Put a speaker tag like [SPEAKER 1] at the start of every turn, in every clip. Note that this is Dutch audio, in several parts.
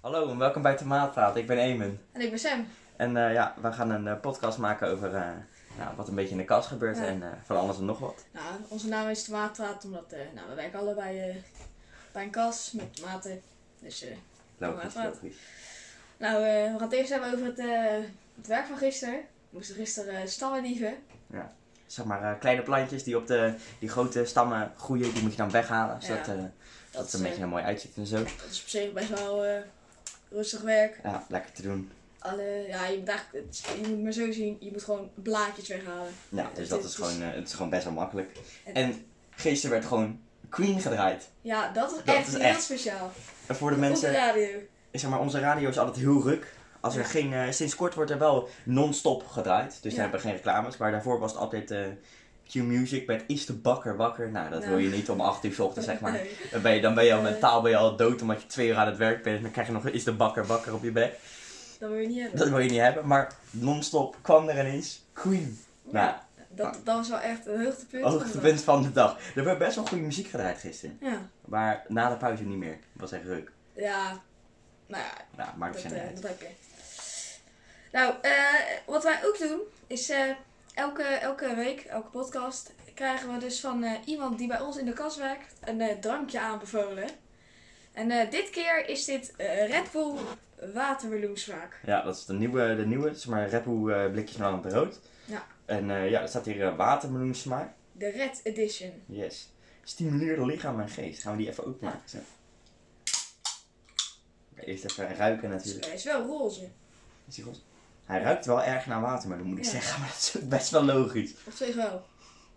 [SPEAKER 1] Hallo en welkom bij Tomaatpraat. Ik ben Eamon.
[SPEAKER 2] En ik ben Sam.
[SPEAKER 1] En eh, ja, we gaan een eh, podcast maken over eh, nou, wat een beetje in de kast gebeurt
[SPEAKER 2] Ja.
[SPEAKER 1] en eh, van alles en nog wat.
[SPEAKER 2] Nou, onze naam is Waterraad omdat eh, nou, we werken allebei eh, bij een kas met maten. Dus eh,
[SPEAKER 1] Logisch,
[SPEAKER 2] Tomaatpraat.
[SPEAKER 1] logisch.
[SPEAKER 2] nou, eh, we gaan het eerst hebben over het, eh, het werk van gisteren. We moesten gisteren eh, stammen dieven.
[SPEAKER 1] Zeg maar eh, kleine plantjes die op de die grote stammen groeien, die moet je dan weghalen. Zodat
[SPEAKER 2] Ja.
[SPEAKER 1] eh, dat
[SPEAKER 2] Dat,
[SPEAKER 1] het
[SPEAKER 2] is,
[SPEAKER 1] een beetje
[SPEAKER 2] eh,
[SPEAKER 1] er mooi uitziet en zo.
[SPEAKER 2] dat is op zich best wel eh, rustig werk.
[SPEAKER 1] Ja, lekker te doen.
[SPEAKER 2] Alle, ja, je, moet eigenlijk, het is- je moet maar zo zien, je moet gewoon blaadjes weghalen.
[SPEAKER 1] Ja, dus dat
[SPEAKER 2] het
[SPEAKER 1] is
[SPEAKER 2] is-
[SPEAKER 1] gewoon, eh, het is gewoon best wel makkelijk.
[SPEAKER 2] Het-
[SPEAKER 1] En gisteren werd gewoon Queen gedraaid.
[SPEAKER 2] Ja, dat is
[SPEAKER 1] Dat
[SPEAKER 2] echt
[SPEAKER 1] is
[SPEAKER 2] heel
[SPEAKER 1] echt
[SPEAKER 2] speciaal.
[SPEAKER 1] En voor de
[SPEAKER 2] Op de
[SPEAKER 1] mensen
[SPEAKER 2] radio.
[SPEAKER 1] Ik zeg maar, onze radio is altijd heel ruk. Als er
[SPEAKER 2] Ja.
[SPEAKER 1] geen, eh, sinds kort wordt er wel non-stop gedraaid. Dus
[SPEAKER 2] Ja.
[SPEAKER 1] daar hebben we geen reclames. Maar daarvoor was het altijd eh, Q-Music met Is de bakker wakker? Nou, dat
[SPEAKER 2] Ja.
[SPEAKER 1] wil je niet om 8 uur 's ochtends, zeg maar.
[SPEAKER 2] Nee.
[SPEAKER 1] Dan ben je, dan ben je al
[SPEAKER 2] Nee.
[SPEAKER 1] mentaal ben je al dood omdat je twee uur aan het werk bent. Dan krijg je nog Is de bakker wakker op je bek.
[SPEAKER 2] Dat wil je niet hebben.
[SPEAKER 1] Dat wil je niet hebben. Maar non-stop kwam er ineens Queen. Nou,
[SPEAKER 2] dat, dat was wel echt een hoogtepunt. van de dag.
[SPEAKER 1] hoogtepunt van de dag. Er werd best wel goede muziek gedraaid gisteren.
[SPEAKER 2] Ja.
[SPEAKER 1] Maar na de pauze niet meer. Het was echt ruk.
[SPEAKER 2] Ja, nou ja,
[SPEAKER 1] Nou, maakt
[SPEAKER 2] Dat,
[SPEAKER 1] het niet
[SPEAKER 2] eh,
[SPEAKER 1] uit.
[SPEAKER 2] dat heb je. Nou, eh, wat wij ook doen is eh, elke, elke week, elke podcast, krijgen we dus van eh, iemand die bij ons in de kas werkt een eh, drankje aanbevolen. En eh, dit keer is dit eh, Red Bull watermeloensmaak.
[SPEAKER 1] Ja, dat is de nieuwe, de nieuwe zeg maar Red Bull eh, blikjes met aan het rood.
[SPEAKER 2] Ja.
[SPEAKER 1] En eh, ja, er staat hier eh, watermeloensmaak.
[SPEAKER 2] De Red Edition.
[SPEAKER 1] Yes. Stimuleer de lichaam en geest. Gaan we die even openmaken? Zo. Oké, Eerst even ruiken
[SPEAKER 2] Dus, eh,
[SPEAKER 1] natuurlijk.
[SPEAKER 2] Hij is wel roze.
[SPEAKER 1] Is die goed? Hij ruikt wel erg naar watermeloen, moet ik
[SPEAKER 2] Ja.
[SPEAKER 1] zeggen. Maar dat is ook best wel logisch.
[SPEAKER 2] Op zich wel.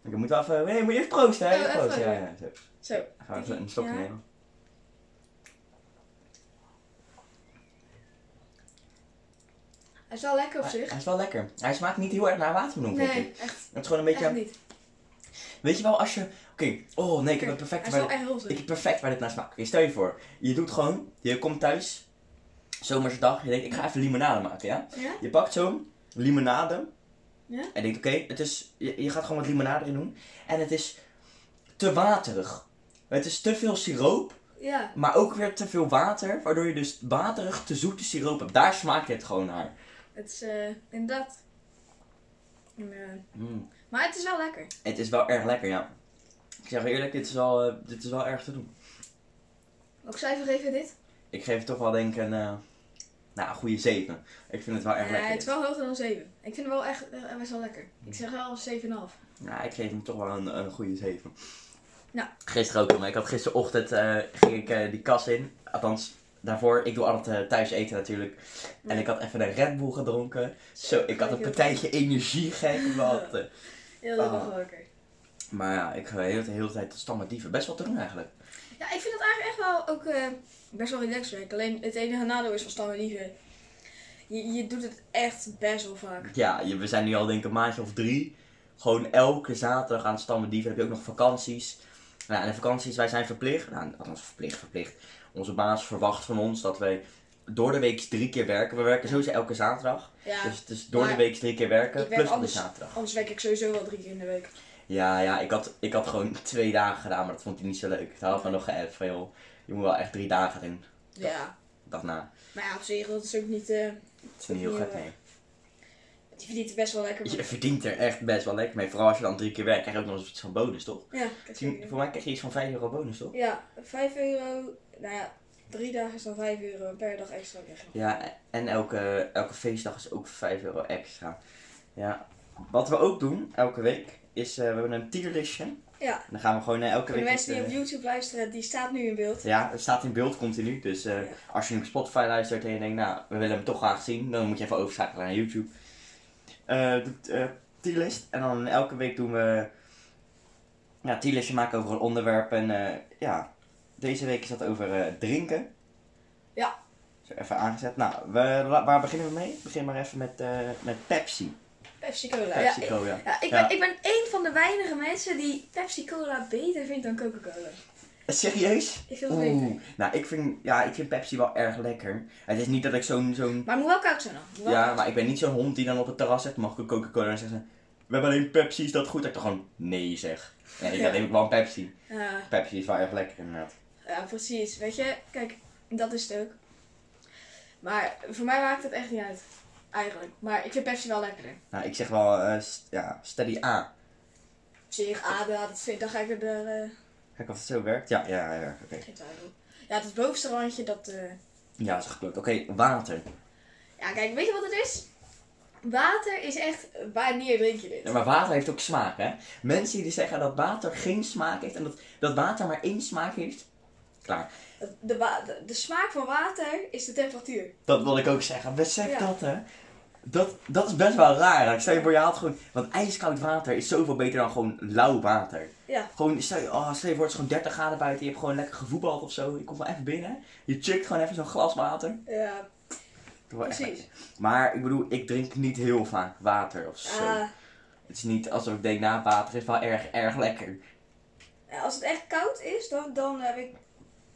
[SPEAKER 1] Ik moet wel even... Nee, moet je even proosten, hè?
[SPEAKER 2] Oh,
[SPEAKER 1] Even
[SPEAKER 2] even,
[SPEAKER 1] proosten. Ja,
[SPEAKER 2] ja.
[SPEAKER 1] ja, zo.
[SPEAKER 2] Zo.
[SPEAKER 1] Gaan we even een stokje
[SPEAKER 2] Ja.
[SPEAKER 1] nemen.
[SPEAKER 2] Hij is wel lekker op
[SPEAKER 1] Hij,
[SPEAKER 2] zich.
[SPEAKER 1] hij is wel lekker. Hij smaakt niet heel erg naar watermeloen, vind
[SPEAKER 2] Nee,
[SPEAKER 1] ik.
[SPEAKER 2] echt,
[SPEAKER 1] Het is gewoon een beetje...
[SPEAKER 2] echt niet.
[SPEAKER 1] Weet je wel, als je... Oké, oh nee, ik heb het
[SPEAKER 2] Hij
[SPEAKER 1] perfecte
[SPEAKER 2] is
[SPEAKER 1] bij de-
[SPEAKER 2] wel echt roze.
[SPEAKER 1] Ik heb perfect waar dit naar smaakt. Oké, stel je voor, je doet gewoon, je komt thuis, zomerse dag, je denkt ik ga even limonade maken, ja?
[SPEAKER 2] Ja?
[SPEAKER 1] Je pakt zo'n limonade
[SPEAKER 2] Ja?
[SPEAKER 1] en denkt oké, het is, je, je gaat gewoon wat limonade erin doen en het is te waterig. Het is te veel siroop,
[SPEAKER 2] Ja.
[SPEAKER 1] maar ook weer te veel water, waardoor je dus waterig te zoete siroop hebt. Daar smaakt het gewoon naar.
[SPEAKER 2] Het is eh, inderdaad. En, eh,
[SPEAKER 1] Mm.
[SPEAKER 2] maar het is wel lekker.
[SPEAKER 1] Het is wel erg lekker, ja. Ik zeg je eerlijk, dit is wel, eh, dit is wel erg te doen.
[SPEAKER 2] Ook cijfer geven we dit?
[SPEAKER 1] Ik geef het toch wel denk ik een, eh, nou, een goede 7. Ik vind het wel erg
[SPEAKER 2] Ja,
[SPEAKER 1] lekker. Hmm.
[SPEAKER 2] het
[SPEAKER 1] dit.
[SPEAKER 2] is wel hoger dan 7. Ik vind het wel echt eh, best wel lekker. Ik zeg wel 7,5.
[SPEAKER 1] Nou, ik geef hem toch wel een, een goede 7.
[SPEAKER 2] Ja.
[SPEAKER 1] Gisteren ook, maar ik had gisterochtend eh, ging ik eh, die kas in. Althans, daarvoor, ik doe altijd eh, thuis eten natuurlijk. En ik had even een Red Bull gedronken. Zo, ik had een partijtje energie gek gehad. eh.
[SPEAKER 2] Heel lekker
[SPEAKER 1] Ah.
[SPEAKER 2] lekker.
[SPEAKER 1] Maar ja, ik ga de hele, de hele tijd tot stammen dieven. Best wel te doen eigenlijk.
[SPEAKER 2] Ja, ik vind het eigenlijk echt wel ook eh, best wel relaxed werk. Alleen het enige nadeel is van Stam en Lieve. Je, je doet het echt best wel vaak.
[SPEAKER 1] Ja, je- we zijn nu al denk ik een maandje of drie. Gewoon elke zaterdag aan het stammen dieven. Dan heb je ook nog vakanties. Nou, en de vakanties, wij zijn verplicht. Nou, althans verplicht, verplicht. Onze baas verwacht van ons dat wij door de week drie keer werken. We werken sowieso elke zaterdag.
[SPEAKER 2] Ja,
[SPEAKER 1] Dus het is door de
[SPEAKER 2] maar
[SPEAKER 1] week drie keer werken,
[SPEAKER 2] ik werk
[SPEAKER 1] plus op de
[SPEAKER 2] anders.
[SPEAKER 1] zaterdag.
[SPEAKER 2] anders werk ik sowieso wel drie keer in de week.
[SPEAKER 1] Ja, ja, ik had, ik had gewoon twee dagen gedaan, maar dat vond hij niet zo leuk. Daar had me nog geëft van, joh, je moet wel echt drie dagen doen.
[SPEAKER 2] Ja.
[SPEAKER 1] Dag na.
[SPEAKER 2] Maar ja, op zich, dat is ook niet... eh
[SPEAKER 1] Het is niet heel gek, nee.
[SPEAKER 2] je verdient het best wel lekker.
[SPEAKER 1] Je
[SPEAKER 2] maar-
[SPEAKER 1] verdient er echt best wel lekker mee. Vooral als je dan drie keer werkt, krijg je ook nog eens iets van bonus, toch?
[SPEAKER 2] Ja, ik heb
[SPEAKER 1] Misschien-
[SPEAKER 2] het
[SPEAKER 1] Voor mij krijg je iets van 5 euro bonus, toch?
[SPEAKER 2] Ja, 5 euro. Nou ja, drie dagen is dan 5 euro en per dag extra weg.
[SPEAKER 1] Ja, en elke, elke feestdag is ook 5 euro extra. Ja. Wat we ook doen, elke week, is eh, we hebben een tierlistje. En
[SPEAKER 2] Ja,
[SPEAKER 1] dan gaan we gewoon eh, elke
[SPEAKER 2] voor de
[SPEAKER 1] week...
[SPEAKER 2] mensen die
[SPEAKER 1] eens,
[SPEAKER 2] op
[SPEAKER 1] eh,
[SPEAKER 2] YouTube luisteren, die staat nu in beeld.
[SPEAKER 1] Ja, het staat in beeld continu. Dus eh,
[SPEAKER 2] Ja.
[SPEAKER 1] als je nu op Spotify luistert en je denkt, nou, we willen hem toch graag zien, dan moet je even overschakelen naar YouTube. Eh de eh, tierlist. En dan elke week doen we ja, tierlistje maken over een onderwerp. En eh, ja, deze week is dat over eh, drinken.
[SPEAKER 2] Ja.
[SPEAKER 1] Zo even aangezet. Nou, we, la- waar beginnen we mee? Begin maar even met, eh, met Pepsi.
[SPEAKER 2] Pepsi Cola.
[SPEAKER 1] Pepsi
[SPEAKER 2] ja, ik-
[SPEAKER 1] Cola. Ja,
[SPEAKER 2] ja, ik, ben, ik ben één van de weinige mensen die Pepsi Cola beter vindt dan Coca-Cola.
[SPEAKER 1] Eh, Serieus?
[SPEAKER 2] Ik vind het beter.
[SPEAKER 1] Oeh. Nou, ik vind, ja, ik vind Pepsi wel erg lekker. Het is niet dat ik zo'n... zo'n
[SPEAKER 2] Maar het moet wel koud zijn dan. Moet wel
[SPEAKER 1] Ja,
[SPEAKER 2] koud
[SPEAKER 1] maar ik ben niet zo'n hond die dan op het terras zegt, mag ik een Coca-Cola? En zeggen ze, we hebben alleen Pepsi, is dat goed? Dat ik dan gewoon, nee zeg. Nee,
[SPEAKER 2] Ja.
[SPEAKER 1] dan neem ik wel een Pepsi.
[SPEAKER 2] zijn. Ja,
[SPEAKER 1] Pepsi is wel erg lekker inderdaad.
[SPEAKER 2] ja, precies. Weet je, kijk, dat is het ook. Maar voor mij maakt het echt niet uit. Eigenlijk. Maar ik vind Pepsi wel lekkerder.
[SPEAKER 1] Nou, ik zeg wel, eh, st- ja, steady A.
[SPEAKER 2] Zeg, ah, dat vind, dan ga ik er eh,
[SPEAKER 1] Kijk of het zo werkt. Ja, ja, ja, oké.
[SPEAKER 2] geen twijfel. Ja, dat bovenste randje, dat... eh,
[SPEAKER 1] Ja, dat is geklopt. Oké, water.
[SPEAKER 2] Ja, kijk, weet je wat het is? Water is echt... Wanneer drink je dit?
[SPEAKER 1] Ja, maar water heeft ook smaak, hè? Mensen die zeggen dat water geen smaak heeft en dat, dat water maar één smaak heeft. Klaar.
[SPEAKER 2] De, wa- de, de smaak van water is de temperatuur.
[SPEAKER 1] Dat wil ik ook zeggen. Besef
[SPEAKER 2] Ja.
[SPEAKER 1] dat, hè? Dat, dat is best wel raar. Ik stel je voor, je haalt gewoon... Want ijskoud water is zoveel beter dan gewoon lauw water.
[SPEAKER 2] Ja.
[SPEAKER 1] Gewoon, stel je, oh, stel je voor, het is gewoon 30 graden buiten. Je hebt gewoon lekker gevoetbald of zo. Je komt wel even binnen. Je checkt gewoon even zo'n glas water.
[SPEAKER 2] Ja.
[SPEAKER 1] Dat wordt echt
[SPEAKER 2] Precies.
[SPEAKER 1] lekker. Maar ik bedoel, ik drink niet heel vaak water of zo.
[SPEAKER 2] Ah,
[SPEAKER 1] Het is niet alsof ik denk, nou, water is wel erg, erg lekker.
[SPEAKER 2] ja, als het echt koud is, dan, dan heb ik...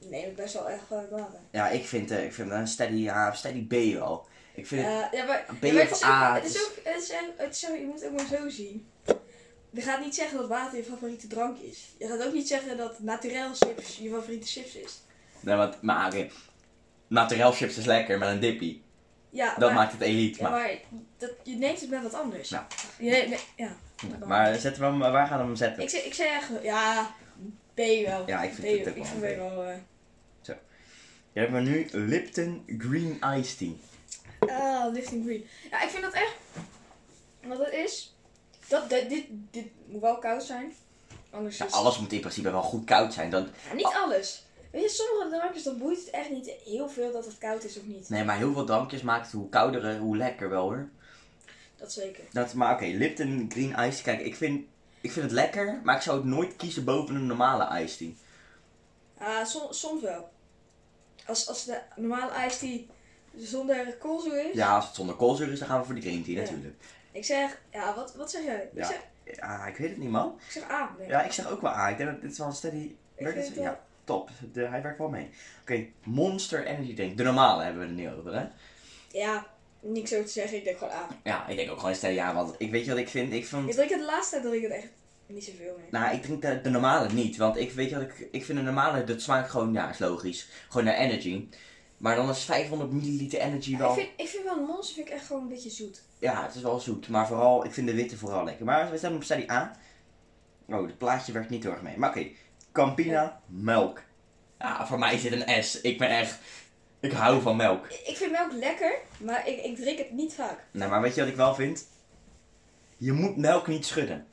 [SPEAKER 2] Neem ik best wel echt eh, water.
[SPEAKER 1] Ja, ik vind, eh, ik vind een steady A of steady B wel. Ik vind het...
[SPEAKER 2] Eh, ja, maar,
[SPEAKER 1] Een B
[SPEAKER 2] ja, maar het
[SPEAKER 1] of
[SPEAKER 2] is ook-
[SPEAKER 1] A,
[SPEAKER 2] Het is
[SPEAKER 1] dus-
[SPEAKER 2] ook, het is echt- het is ook- je moet het ook maar zo zien. Je gaat niet zeggen dat water je favoriete drank is. Je gaat ook niet zeggen dat naturel chips je favoriete chips is.
[SPEAKER 1] Nee, want, maar oké. Naturel chips is lekker met een dippie.
[SPEAKER 2] Ja,
[SPEAKER 1] Dat
[SPEAKER 2] maar,
[SPEAKER 1] maakt het elite.
[SPEAKER 2] ja,
[SPEAKER 1] maar,
[SPEAKER 2] maar dat, je neemt het met wat anders.
[SPEAKER 1] Ja.
[SPEAKER 2] Je neemt- nee, ja.
[SPEAKER 1] maar, zetten we hem, waar gaan we hem zetten?
[SPEAKER 2] Ik, zeg, ik zeg echt, ja, B wel.
[SPEAKER 1] Ja, ik vind
[SPEAKER 2] B
[SPEAKER 1] het
[SPEAKER 2] wel.
[SPEAKER 1] ook
[SPEAKER 2] Ik
[SPEAKER 1] wel
[SPEAKER 2] vind
[SPEAKER 1] een
[SPEAKER 2] B wel... eh,
[SPEAKER 1] Je hebt maar nu Lipton Green Iced Tea.
[SPEAKER 2] Ah, Lifting Green. Ja, ik vind dat echt. Wat dat is. Dat, dat- dit, dit moet wel koud zijn. Anders
[SPEAKER 1] Ja,
[SPEAKER 2] is
[SPEAKER 1] alles moet in principe wel goed koud zijn. Dan,
[SPEAKER 2] Ja, niet alles. Weet je, sommige drankjes, dan boeit het echt niet heel veel dat het koud is of niet.
[SPEAKER 1] nee, maar heel veel drankjes maakt het hoe kouder, eh, hoe lekker wel hoor.
[SPEAKER 2] Dat zeker.
[SPEAKER 1] Dat, maar oké, Lipton Green Ice Kijk, ik vind, ik vind het lekker, maar ik zou het nooit kiezen boven een normale iced tea.
[SPEAKER 2] Ah, som- soms wel. Als, als de normale ijs die zonder koolzuur is.
[SPEAKER 1] Ja, als het zonder koolzuur is, dan gaan we voor de green tea
[SPEAKER 2] Ja.
[SPEAKER 1] natuurlijk.
[SPEAKER 2] Ik zeg, ja, wat, wat zeg jij?
[SPEAKER 1] Ja.
[SPEAKER 2] Ik, zeg,
[SPEAKER 1] Ah, ik weet het niet, man.
[SPEAKER 2] ik zeg A. denk ik.
[SPEAKER 1] Ja, ik zeg ook wel A. Ik denk dat dit is wel een steady...
[SPEAKER 2] Ik
[SPEAKER 1] werkt
[SPEAKER 2] vind
[SPEAKER 1] het-
[SPEAKER 2] het wel-
[SPEAKER 1] Ja, top. De, hij werkt wel mee. Oké, Monster Energy Drink. De normale hebben we er niet over, hè?
[SPEAKER 2] ja, niks over te zeggen. Ik denk gewoon A.
[SPEAKER 1] Ja, ik denk ook gewoon steady A, want ik weet je wat ik vind? Ik vind...
[SPEAKER 2] Ik drink het de laatste tijd drink ik het echt niet zoveel meer.
[SPEAKER 1] Nou, ik drink de, de normale niet, want ik weet je wat ik... Ik vind de normale, dat smaakt gewoon, ja, is logisch. Gewoon naar energy. Maar dan is 500 milliliter energy wel...
[SPEAKER 2] Ik vind, ik vind wel een monster vind ik echt gewoon een beetje zoet.
[SPEAKER 1] Ja, het is wel zoet, maar vooral, ik vind de witte vooral lekker. Maar we staan op steady A. Oh, het plaatje werkt niet heel erg mee. Maar oké, Campina, melk. Ja, voor mij is dit een S. Ik ben echt, ik hou van melk.
[SPEAKER 2] Ik ik vind melk lekker, maar ik, ik drink het niet vaak.
[SPEAKER 1] Nou, maar weet je wat ik wel vind? Je moet melk niet schudden.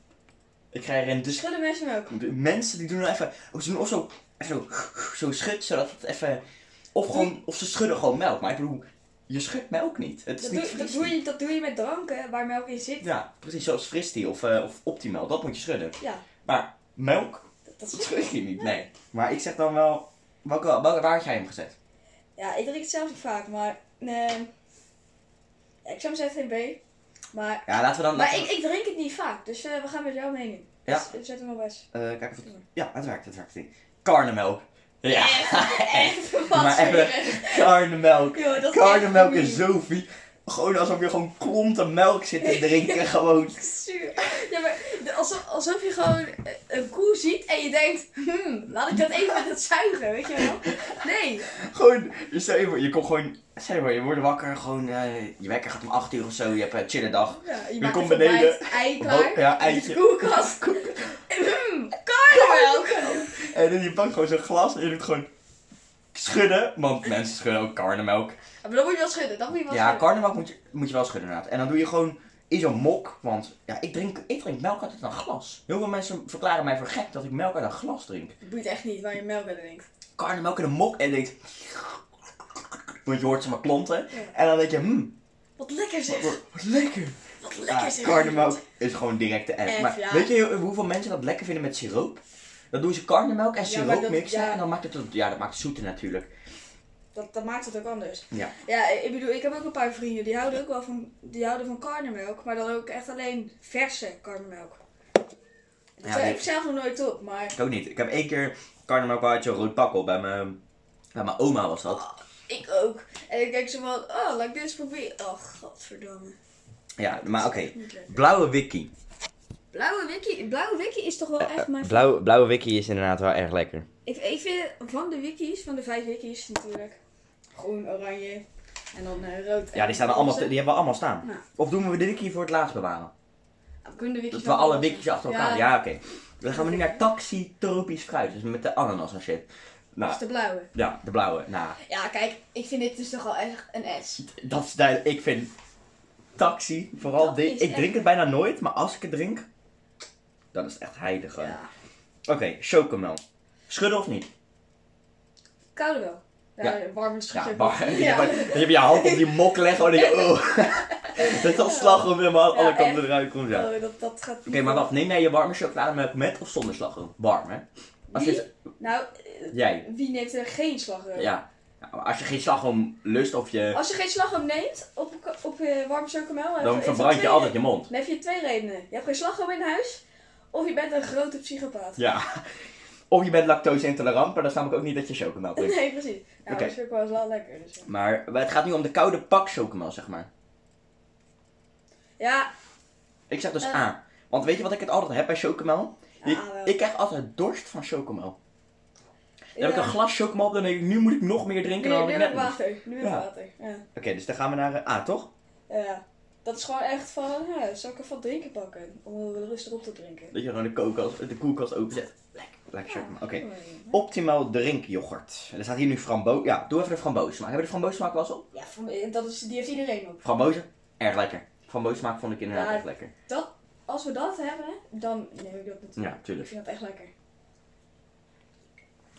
[SPEAKER 1] Ik krijg erin, dus
[SPEAKER 2] Schudden mensen melk.
[SPEAKER 1] de mensen die doen dan even, oh, ze doen of zo, zo, zo schud, zodat het even, of gewoon, of ze schudden gewoon melk. Maar ik bedoel, je schudt melk niet. Het is
[SPEAKER 2] Dat
[SPEAKER 1] niet
[SPEAKER 2] doe, dat,
[SPEAKER 1] fris.
[SPEAKER 2] doe je, dat doe je met dranken waar melk in zit.
[SPEAKER 1] Ja, precies zoals Fristie of, eh, of Optimal, dat moet je schudden.
[SPEAKER 2] Ja,
[SPEAKER 1] Maar melk?
[SPEAKER 2] dat, dat
[SPEAKER 1] Dat
[SPEAKER 2] is
[SPEAKER 1] schrik je niet, nee. Maar ik zeg dan wel, welke, welke, waar had jij hem gezet?
[SPEAKER 2] Ja, ik drink het zelf niet vaak, maar... Nee. Ja, ik zou hem zeggen geen B. Maar,
[SPEAKER 1] Ja, laten we dan...
[SPEAKER 2] maar
[SPEAKER 1] laten
[SPEAKER 2] ik, ik drink het niet vaak, dus eh, we gaan met jouw mening.
[SPEAKER 1] Ja.
[SPEAKER 2] Dus we zetten hem op S.
[SPEAKER 1] we- eh, kijken of het... Ja, het werkt, het werkt. Karnemelk. Ja,
[SPEAKER 2] Echt, wat
[SPEAKER 1] Maar even-
[SPEAKER 2] zeg
[SPEAKER 1] karnemelk.
[SPEAKER 2] je? Yo, dat is
[SPEAKER 1] Karnemelk
[SPEAKER 2] echt
[SPEAKER 1] is zo vies. Gewoon alsof je gewoon klonten melk zit te drinken, gewoon.
[SPEAKER 2] Zuur. Ja, maar de- alsof, alsof je gewoon eh, een koe ziet en je denkt, hmm, laat ik dat even met het zuigen, weet je wel? Nee.
[SPEAKER 1] Gewoon, stel je voor, je komt gewoon... Stel je voor, je wordt wakker, gewoon... eh, je wekker gaat om 8 uur of zo, je hebt een chille dag.
[SPEAKER 2] Ja, je
[SPEAKER 1] komt
[SPEAKER 2] het
[SPEAKER 1] beneden.
[SPEAKER 2] ontbijt, Ei klaar.
[SPEAKER 1] Ja,
[SPEAKER 2] uit
[SPEAKER 1] eitje.
[SPEAKER 2] de koelkast. Hmm, karnemelk.
[SPEAKER 1] En dan je pakt gewoon zo'n glas en je doet gewoon... Schudden, want mensen schudden ook karnemelk.
[SPEAKER 2] Maar dan moet je wel schudden, dan moet je wel
[SPEAKER 1] Ja,
[SPEAKER 2] schudden.
[SPEAKER 1] karnemelk moet je, moet je wel schudden inderdaad. En dan doe je gewoon in zo'n mok, want ja, ik, drink, ik drink melk uit een glas. Heel veel mensen verklaren mij voor gek dat ik melk uit een glas drink.
[SPEAKER 2] Het boeit echt niet waar je melk uit drinkt.
[SPEAKER 1] Karnemelk in een mok en je denkt... Want je hoort ze maar klonten.
[SPEAKER 2] Ja.
[SPEAKER 1] En dan denk je, hmm,
[SPEAKER 2] Wat lekker zeg.
[SPEAKER 1] wat, wat lekker.
[SPEAKER 2] Wat
[SPEAKER 1] Ja,
[SPEAKER 2] lekker zeg.
[SPEAKER 1] karnemelk is gewoon direct de F.
[SPEAKER 2] F,
[SPEAKER 1] Maar
[SPEAKER 2] ja.
[SPEAKER 1] weet je hoe- hoeveel mensen dat lekker vinden met siroop? Dan doen ze karnemelk en
[SPEAKER 2] Ja,
[SPEAKER 1] siroop
[SPEAKER 2] maar dat-
[SPEAKER 1] mixen
[SPEAKER 2] ja.
[SPEAKER 1] en dan maakt het, tot- ja dat maakt het zoeter natuurlijk.
[SPEAKER 2] Dat, dat maakt het ook anders.
[SPEAKER 1] Ja.
[SPEAKER 2] Ja, ik bedoel, ik heb ook een paar vrienden die houden ook wel van, die houden van karnemelk, maar dan ook echt alleen verse karnemelk. Dat
[SPEAKER 1] Ja,
[SPEAKER 2] heb
[SPEAKER 1] die-
[SPEAKER 2] ik zelf nog nooit op, maar
[SPEAKER 1] Ik ook niet. Ik heb één keer karnemelk uit zo'n rood pak op bij mijn, bij mijn oma was dat.
[SPEAKER 2] ik ook. En ik denk zo van, oh, laat ik dit eens proberen. Oh, godverdamme.
[SPEAKER 1] Ja, maar oké.
[SPEAKER 2] Niet leuk.
[SPEAKER 1] Blauwe wiki.
[SPEAKER 2] Blauwe wiki, blauwe wiki is toch wel echt mijn...
[SPEAKER 1] Blauwe, blauwe wiki is inderdaad wel erg lekker.
[SPEAKER 2] Ik, ik vind van de wikis, van de vijf wikis natuurlijk, groen, oranje, En dan eh, rood.
[SPEAKER 1] Ja, die, staan er allemaal, die hebben we allemaal staan.
[SPEAKER 2] Ja.
[SPEAKER 1] Of doen we de wiki voor het laatst bewaren?
[SPEAKER 2] We kunnen de
[SPEAKER 1] Dat
[SPEAKER 2] wikjes
[SPEAKER 1] we alle
[SPEAKER 2] wel-
[SPEAKER 1] wikjes achter elkaar... Ja, oké. Dan gaan we nu naar taxitropisch fruit. Dus met de ananas en shit.
[SPEAKER 2] Dat is
[SPEAKER 1] Nou,
[SPEAKER 2] de blauwe.
[SPEAKER 1] ja, de blauwe. Nou,
[SPEAKER 2] Ja, kijk, ik vind dit dus toch al echt een S.
[SPEAKER 1] dat is duidelijk. Ik vind taxi, vooral
[SPEAKER 2] Dat
[SPEAKER 1] dit...
[SPEAKER 2] is
[SPEAKER 1] Ik drink
[SPEAKER 2] echt-
[SPEAKER 1] het bijna nooit, maar als ik het drink... Dan is het echt heilig. gewoon.
[SPEAKER 2] Ja.
[SPEAKER 1] Oké, chocomel. Schudden of niet?
[SPEAKER 2] Koude wel. Ja, warm is
[SPEAKER 1] Ja,
[SPEAKER 2] het
[SPEAKER 1] maar
[SPEAKER 2] ook.
[SPEAKER 1] je
[SPEAKER 2] Ja.
[SPEAKER 1] hebt- je hebt je hand op die mok leggen en dan denk je, oh. Dat is al slagroom helemaal,
[SPEAKER 2] Ja,
[SPEAKER 1] alle kanten
[SPEAKER 2] echt.
[SPEAKER 1] eruit komt, ja. Oké,
[SPEAKER 2] Oh, dat, dat gaat
[SPEAKER 1] maar wacht, neem jij je warme chocolademelk met of zonder slagroom? Warm, hè? Als je,
[SPEAKER 2] Nou, eh,
[SPEAKER 1] jij,
[SPEAKER 2] wie neemt er geen slagroom?
[SPEAKER 1] ja. Nou, Als je geen slagroom lust of je,
[SPEAKER 2] Als je geen slagroom neemt op, ko- op eh, warme chocomel... heb
[SPEAKER 1] dan
[SPEAKER 2] heeft
[SPEAKER 1] verbrand je
[SPEAKER 2] twee
[SPEAKER 1] altijd je
[SPEAKER 2] redenen.
[SPEAKER 1] mond.
[SPEAKER 2] Dan heb je twee redenen. Je hebt geen slagroom in huis, of je bent een grote psychopaat.
[SPEAKER 1] Ja. Of je bent lactose intolerant, maar dan snap ik ook niet dat je chocomel drinkt.
[SPEAKER 2] Nee, precies. Nou,
[SPEAKER 1] Oké.
[SPEAKER 2] okay. chocomel is wel lekker. Dus, ja.
[SPEAKER 1] Maar het gaat nu om de koude pak chocomel, zeg maar.
[SPEAKER 2] ja,
[SPEAKER 1] Ik zeg dus
[SPEAKER 2] Eh.
[SPEAKER 1] A. Want weet je wat ik het altijd heb bij chocomel?
[SPEAKER 2] Ja,
[SPEAKER 1] Ik,
[SPEAKER 2] wel.
[SPEAKER 1] ik krijg altijd dorst van chocomel. Dan heb
[SPEAKER 2] ja.
[SPEAKER 1] ik een glas chocomel op, dan denk ik, nu moet ik nog meer
[SPEAKER 2] Nu,
[SPEAKER 1] drinken
[SPEAKER 2] nu
[SPEAKER 1] dan ik
[SPEAKER 2] heb
[SPEAKER 1] net
[SPEAKER 2] ik
[SPEAKER 1] moest.
[SPEAKER 2] water. Nu heb ik
[SPEAKER 1] dus- Ja.
[SPEAKER 2] water. Ja.
[SPEAKER 1] Oké, dus dan gaan we naar eh, A, toch?
[SPEAKER 2] Ja. Dat is gewoon echt van, ja, zal ik ervan drinken pakken? Om er rustig op te drinken.
[SPEAKER 1] Dat je gewoon de koelkast, de koelkast openzet. Lekker, lekker
[SPEAKER 2] Ja,
[SPEAKER 1] chocomel. Oké.
[SPEAKER 2] mooi.
[SPEAKER 1] Optimaal drinkyoghurt. En er staat hier nu framboos. Ja, doe even de framboosmaak. Hebben we de framboosmaak wel eens op?
[SPEAKER 2] Ja, voor mij- dat is, die heeft iedereen op.
[SPEAKER 1] Frambozen? Erg lekker. Framboosmaak vond ik inderdaad
[SPEAKER 2] Ja.
[SPEAKER 1] echt lekker.
[SPEAKER 2] Dat, als we dat hebben, dan neem ik dat natuurlijk.
[SPEAKER 1] Ja, tuurlijk.
[SPEAKER 2] Ik vind dat echt lekker.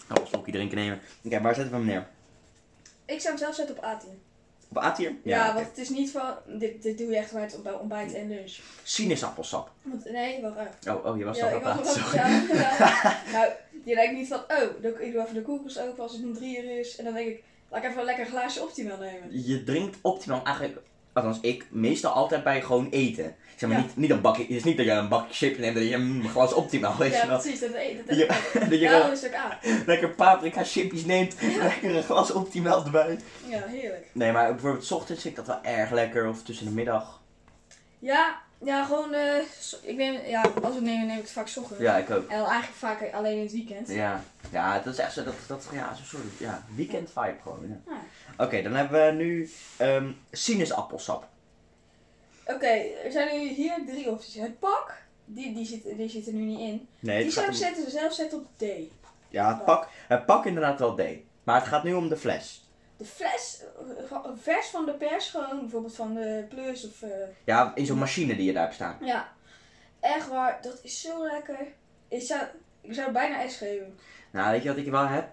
[SPEAKER 1] Nou, als slokje drinken nemen. Oké, waar zetten we hem neer?
[SPEAKER 2] Ik zou hem zelf zetten op A10.
[SPEAKER 1] Op A tier?
[SPEAKER 2] Ja,
[SPEAKER 1] oké.
[SPEAKER 2] want het is niet van, dit, dit doe je echt bij het ontbij- ontbijt en lunch.
[SPEAKER 1] Sinaasappelsap.
[SPEAKER 2] Want, nee, wacht even.
[SPEAKER 1] Oh, oh, je was
[SPEAKER 2] Ja,
[SPEAKER 1] al
[SPEAKER 2] ik
[SPEAKER 1] op A.
[SPEAKER 2] was
[SPEAKER 1] Sorry.
[SPEAKER 2] ja, ja. Nou, je denkt niet van, oh, dan- ik doe even de koelkast open als het om drie uur is. En dan denk ik, laat ik even een lekker glaasje optimaal nemen.
[SPEAKER 1] Je drinkt optimaal eigenlijk, althans ik, meestal altijd bij gewoon eten. Zeg maar
[SPEAKER 2] Ja.
[SPEAKER 1] niet, niet een bakje, het is niet dat je een bakje chips neemt en dat je mm, een glas optimaal, weet je
[SPEAKER 2] Ja,
[SPEAKER 1] wel.
[SPEAKER 2] precies. Dat, e- dat, dat,
[SPEAKER 1] Dat je- dat je
[SPEAKER 2] daarom is het ook A.
[SPEAKER 1] gewoon lekker paprika chipjes neemt, lekker een glas optimaal erbij.
[SPEAKER 2] Ja, heerlijk.
[SPEAKER 1] Nee, maar bijvoorbeeld 's ochtends vind ik dat wel erg lekker, of tussen de middag.
[SPEAKER 2] Ja, ja gewoon, eh, so- ik neem, ja, als we het nemen, neem ik het vaak 's ochtends.
[SPEAKER 1] Ja, ik ook.
[SPEAKER 2] En dan eigenlijk vaak alleen in het weekend.
[SPEAKER 1] Ja, ja dat is echt zo, dat, dat ja, zo'n soort ja, weekend vibe gewoon. Ja.
[SPEAKER 2] Ja.
[SPEAKER 1] Oké, dan hebben we nu ehm sinaasappelsap.
[SPEAKER 2] Oké, er zijn nu hier drie opties. Het pak, die, die, zit, die zit er nu niet in.
[SPEAKER 1] Nee, het
[SPEAKER 2] die
[SPEAKER 1] gaat
[SPEAKER 2] zou ik
[SPEAKER 1] om-
[SPEAKER 2] zetten, zelf zetten op D.
[SPEAKER 1] Ja, het pak, het pak inderdaad wel D. Maar het gaat nu om de fles.
[SPEAKER 2] De fles, eh, gewoon vers van de pers gewoon, bijvoorbeeld van de plus of... eh,
[SPEAKER 1] Ja, in zo'n machine die je daar hebt staan.
[SPEAKER 2] ja, echt waar, dat is zo lekker. Ik zou, ik zou het bijna S geven.
[SPEAKER 1] Nou, weet je wat ik wel heb?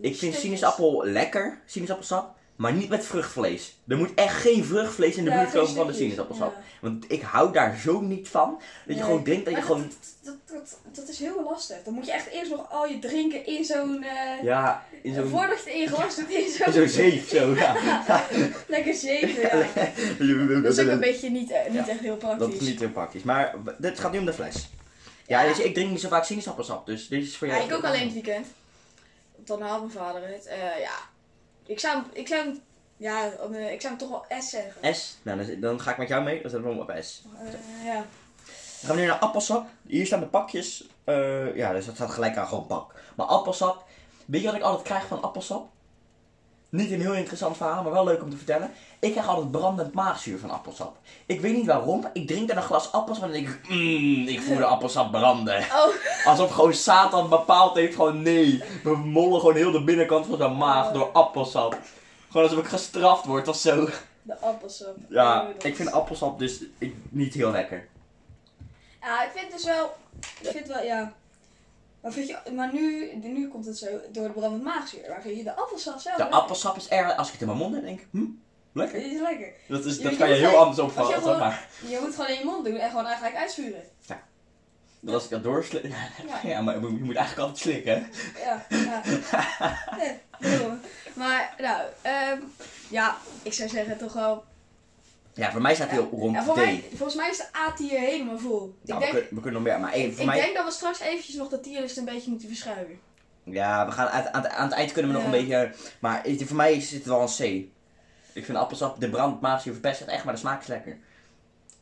[SPEAKER 1] Ik vind
[SPEAKER 2] Stukjes.
[SPEAKER 1] sinaasappel lekker, sinaasappelsap, maar niet met vruchtvlees. Er moet echt geen vruchtvlees in de
[SPEAKER 2] Ja,
[SPEAKER 1] buurt
[SPEAKER 2] geen
[SPEAKER 1] komen van de
[SPEAKER 2] stukjes,
[SPEAKER 1] sinaasappelsap.
[SPEAKER 2] ja.
[SPEAKER 1] Want ik hou daar zo niet van, dat je
[SPEAKER 2] Nee.
[SPEAKER 1] gewoon drinkt dat je
[SPEAKER 2] Maar
[SPEAKER 1] gewoon...
[SPEAKER 2] Dat, dat, dat is heel lastig. Dan moet je echt eerst nog al je drinken in zo'n... eh,
[SPEAKER 1] Ja, in zo'n
[SPEAKER 2] Voordat je in je glas doet, in
[SPEAKER 1] in
[SPEAKER 2] zo'n...
[SPEAKER 1] zo'n zeef zo, ja.
[SPEAKER 2] Lekker zeven, ja. Dat is ook een beetje niet, eh, niet echt heel praktisch.
[SPEAKER 1] Dat is niet heel praktisch, maar w- dit gaat nu om de fles. Ja,
[SPEAKER 2] Ja.
[SPEAKER 1] dus ik drink niet zo vaak sinaasappelsap, dus dit is voor
[SPEAKER 2] Ja,
[SPEAKER 1] jou.
[SPEAKER 2] ik ook alleen het weekend. Want Dan haalt mijn vader het. Eh, ja. Ik zou, hem- ik zou, hem- ja, dan, eh, ik zou hem toch wel S zeggen.
[SPEAKER 1] S, nou, dan, is- dan ga ik met jou mee, dan zetten we hem op S.
[SPEAKER 2] Eh, ja.
[SPEAKER 1] Dan gaan we nu naar appelsap. Hier staan de pakjes. Eh, ja, dus dat staat gelijk aan gewoon pak. Maar appelsap. Weet je wat ik altijd krijg van appelsap? Niet een heel interessant verhaal, maar wel leuk om te vertellen. Ik krijg altijd brandend maagzuur van appelsap. Ik weet niet waarom. Ik drink dan een glas appels en dan denk ik, mmm, ik voel de appelsap branden.
[SPEAKER 2] Oh,
[SPEAKER 1] Alsof gewoon Satan bepaald heeft gewoon nee. We mollen gewoon heel de binnenkant van zijn maag door appelsap. Gewoon alsof ik gestraft word of zo.
[SPEAKER 2] de appelsap.
[SPEAKER 1] Ja,
[SPEAKER 2] Oh, dat
[SPEAKER 1] ik vind
[SPEAKER 2] is-
[SPEAKER 1] appelsap dus ik, niet heel lekker.
[SPEAKER 2] Ja, ik vind dus wel, ik vind wel, ja. Maar, vind je, maar nu, nu komt het zo door de brandend maagzuur. Maar vind je de appelsap zelf?
[SPEAKER 1] De
[SPEAKER 2] lekker?
[SPEAKER 1] appelsap is erg. Als ik het in mijn mond heb, denk ik, hm, lekker.
[SPEAKER 2] Die is lekker.
[SPEAKER 1] Dat, is,
[SPEAKER 2] Je
[SPEAKER 1] dat
[SPEAKER 2] moet
[SPEAKER 1] kan je
[SPEAKER 2] heel
[SPEAKER 1] heel
[SPEAKER 2] gelijk-
[SPEAKER 1] anders
[SPEAKER 2] als
[SPEAKER 1] opvallen,
[SPEAKER 2] je
[SPEAKER 1] zeg
[SPEAKER 2] gewoon-
[SPEAKER 1] maar.
[SPEAKER 2] Je moet gewoon in je mond doen en gewoon eigenlijk uitspuren.
[SPEAKER 1] Dat als ik dat doorslik... Ja.
[SPEAKER 2] Ja.
[SPEAKER 1] maar je moet, je moet eigenlijk altijd slikken.
[SPEAKER 2] Ja, ja. Nee, doe maar. maar, nou, ehm, ja, ik zou zeggen toch wel
[SPEAKER 1] Ja, voor mij staat heel rond
[SPEAKER 2] Ja,
[SPEAKER 1] de
[SPEAKER 2] voor
[SPEAKER 1] D.
[SPEAKER 2] mij, volgens mij is de A-tier helemaal vol.
[SPEAKER 1] Ja,
[SPEAKER 2] ik
[SPEAKER 1] we,
[SPEAKER 2] denk,
[SPEAKER 1] kunnen, we kunnen nog meer, maar één, Nou, voor
[SPEAKER 2] ik
[SPEAKER 1] mij...
[SPEAKER 2] denk dat we straks eventjes nog de tierlist een beetje moeten verschuiven.
[SPEAKER 1] Ja, we gaan aan, het- aan, het- aan het eind kunnen we nog
[SPEAKER 2] Ja.
[SPEAKER 1] een beetje... Maar het- voor mij is het wel een C. Ik vind appelsap, de brand, maas, je verpest het echt, maar de smaak is lekker.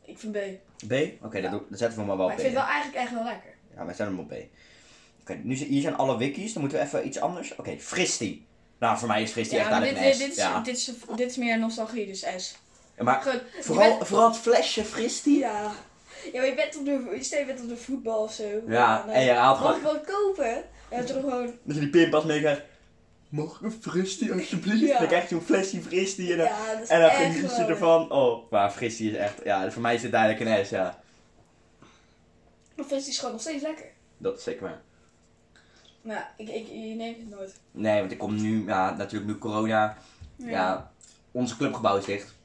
[SPEAKER 2] Ik vind B. Maar
[SPEAKER 1] B? Oké, dat, doe- dat zetten we maar wel
[SPEAKER 2] ik
[SPEAKER 1] B.
[SPEAKER 2] vind het wel eigenlijk echt wel lekker.
[SPEAKER 1] Ja, wij zetten hem op B. Oké, nu zijn, hier zijn alle wikis, dan moeten we even iets anders. Oké, fristie. Nou, voor mij is fris die
[SPEAKER 2] Ja,
[SPEAKER 1] echt
[SPEAKER 2] maar
[SPEAKER 1] aan
[SPEAKER 2] dit,
[SPEAKER 1] het
[SPEAKER 2] dit,
[SPEAKER 1] nest.
[SPEAKER 2] dit, is,
[SPEAKER 1] ja.
[SPEAKER 2] dit, is, dit is meer nostalgie, dus S.
[SPEAKER 1] Maar
[SPEAKER 2] Gewoon, je
[SPEAKER 1] vooral,
[SPEAKER 2] bent-
[SPEAKER 1] vooral het flesje fris die.
[SPEAKER 2] ja. ja, maar je bent op de, je stel je bent op de voetbal of zo.
[SPEAKER 1] Ja,
[SPEAKER 2] Dan,
[SPEAKER 1] en je haalt
[SPEAKER 2] Mag ik
[SPEAKER 1] gewoon...
[SPEAKER 2] wat kopen? En toen gewoon...
[SPEAKER 1] Dat je die pinpas meekrijgt. Mag ik een fristie alsjeblieft?
[SPEAKER 2] Ja.
[SPEAKER 1] Dan krijg je een flesje fristie en dan,
[SPEAKER 2] Ja, dat is
[SPEAKER 1] eh, en dan
[SPEAKER 2] echt
[SPEAKER 1] geniet je
[SPEAKER 2] gewoon-
[SPEAKER 1] ervan. Oh, maar fristie is echt... Ja, voor mij is dit duidelijk een S, ja.
[SPEAKER 2] Maar fris is gewoon nog steeds lekker.
[SPEAKER 1] Dat is zeker waar.
[SPEAKER 2] Maar ja, ik, ik, je neemt het nooit.
[SPEAKER 1] Nee, want ik kom nu... Ja, natuurlijk nu corona. Ja, ons clubgebouw is dicht.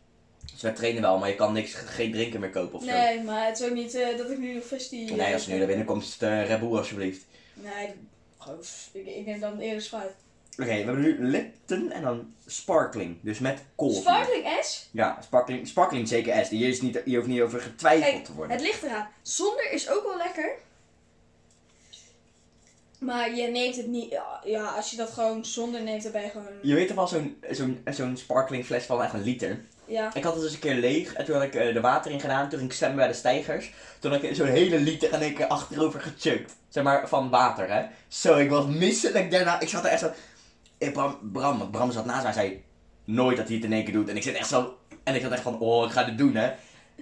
[SPEAKER 1] Dus wij trainen wel, maar je kan niks, geen drinken meer kopen of zo.
[SPEAKER 2] Nee, maar het is ook niet eh, dat ik nu nog fris die...
[SPEAKER 1] Nee, als je nu naar binnen komt, is het eh, Red Bull alsjeblieft.
[SPEAKER 2] Nee, gewoon, ik, ik neem dan eerder Sprite.
[SPEAKER 1] Oké, we hebben nu Lipton en dan Sparkling. Dus met kool.
[SPEAKER 2] Sparkling S?
[SPEAKER 1] Ja, sparkling, sparkling zeker S. Hier, is niet, hier hoeft niet over getwijfeld
[SPEAKER 2] Kijk,
[SPEAKER 1] te worden.
[SPEAKER 2] Het ligt eraan. Zonder is ook wel lekker. Maar je neemt het niet... Ja, ja, als je dat gewoon zonder neemt, dan ben je gewoon...
[SPEAKER 1] Je weet toch wel zo'n zo'n zo'n sparkling fles van echt een liter?
[SPEAKER 2] Ja.
[SPEAKER 1] Ik had het dus een keer leeg en toen had ik eh, er water in gedaan. Toen ging ik zwemmen bij de stijgers. Toen had ik zo'n hele liter en ik achterover gechukt. Zeg maar van water, hè. Zo, ik was misselijk daarna. Ik zat er echt zo... Ik, Bram, Bram, want Bram zat naast mij en zei nooit dat hij het in één keer doet. En ik zit echt zo... En ik zat echt van, oh, ik ga dit doen, hè.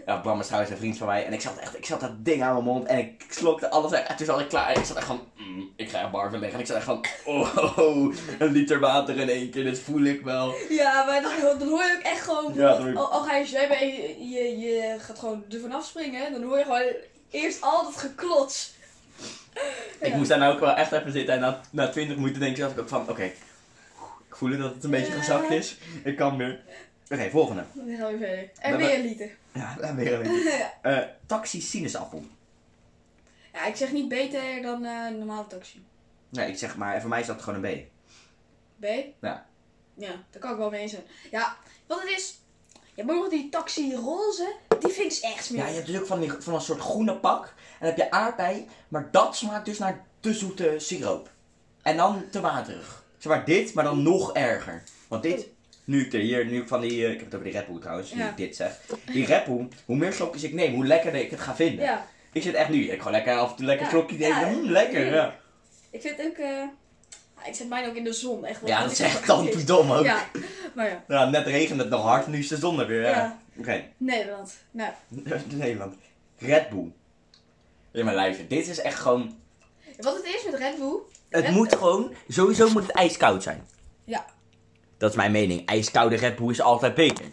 [SPEAKER 1] Ja, Bram is trouwens een vriend van mij. En ik zat echt, ik zat dat ding aan mijn mond en ik slokte alles uit. En toen zat ik klaar en ik zat echt van, mm, ik ga echt barven liggen. En ik zat echt van, oh, oh, oh, een liter water in één keer, dit voel ik wel.
[SPEAKER 2] Ja, maar dan, dan hoor je ook echt gewoon...
[SPEAKER 1] Ja, dat hoor ik.
[SPEAKER 2] al, al ga je zwemmen en je, je, je gaat gewoon er vanaf springen, dan hoor je gewoon eerst al dat geklots.
[SPEAKER 1] Ik
[SPEAKER 2] Ja.
[SPEAKER 1] moest daar nou ook wel echt even zitten en na, na 20 minuten denk ik zelf ook van, oké, ik voel dat het een beetje
[SPEAKER 2] Ja.
[SPEAKER 1] gezakt is. Ik kan weer. Oké, volgende.
[SPEAKER 2] Dan gaan we verder.
[SPEAKER 1] Maar-
[SPEAKER 2] En weer een liter.
[SPEAKER 1] Ja, daar weer een beetje. Eh, taxi sinaasappel.
[SPEAKER 2] Ja, ik zeg niet beter dan eh een normale taxi.
[SPEAKER 1] Nee, ik zeg maar, voor mij is dat gewoon een B.
[SPEAKER 2] B?
[SPEAKER 1] Ja.
[SPEAKER 2] Ja, daar kan ik wel mee eens zijn. Ja, wat het is... Je hebt ook nog die taxi roze, die vind ik echt
[SPEAKER 1] Ja,
[SPEAKER 2] smerig.
[SPEAKER 1] je hebt dus ook van, die, van een soort groene pak. En dan heb je aardbei, maar dat smaakt dus naar te zoete siroop. En dan te waterig. Zeg maar dit, maar dan nog erger. Want dit, nu ik er hier, nu ik van die, eh, ik heb het over die Red Bull trouwens, nu
[SPEAKER 2] Ja.
[SPEAKER 1] ik dit zeg. Die Red Bull, hoe meer slokjes ik neem, hoe lekkerder ik het ga vinden.
[SPEAKER 2] Ja,
[SPEAKER 1] Ik zit echt nu, ik gewoon lekker af en toe lekker
[SPEAKER 2] Ja,
[SPEAKER 1] slokje nemen.
[SPEAKER 2] ja,
[SPEAKER 1] Mm, lekker, ja.
[SPEAKER 2] ik vind ook... eh, ah, ik zet mij ook in de zon, echt.
[SPEAKER 1] Ja, dat is echt dan
[SPEAKER 2] dan
[SPEAKER 1] dom ook. Ja.
[SPEAKER 2] Ja, maar ja.
[SPEAKER 1] net regent het nog hard, nu is de zon er weer. Ja.
[SPEAKER 2] Ja.
[SPEAKER 1] Oké. dus
[SPEAKER 2] Nederland. Nou,
[SPEAKER 1] Nederland. Red Bull. In mijn lijfje. Dit is echt gewoon.
[SPEAKER 2] wat het is met Red Bull...
[SPEAKER 1] Het
[SPEAKER 2] Red-
[SPEAKER 1] moet gewoon. Sowieso moet het ijskoud zijn.
[SPEAKER 2] Ja.
[SPEAKER 1] Dat is mijn mening. IJskoude Red Bull is altijd beter.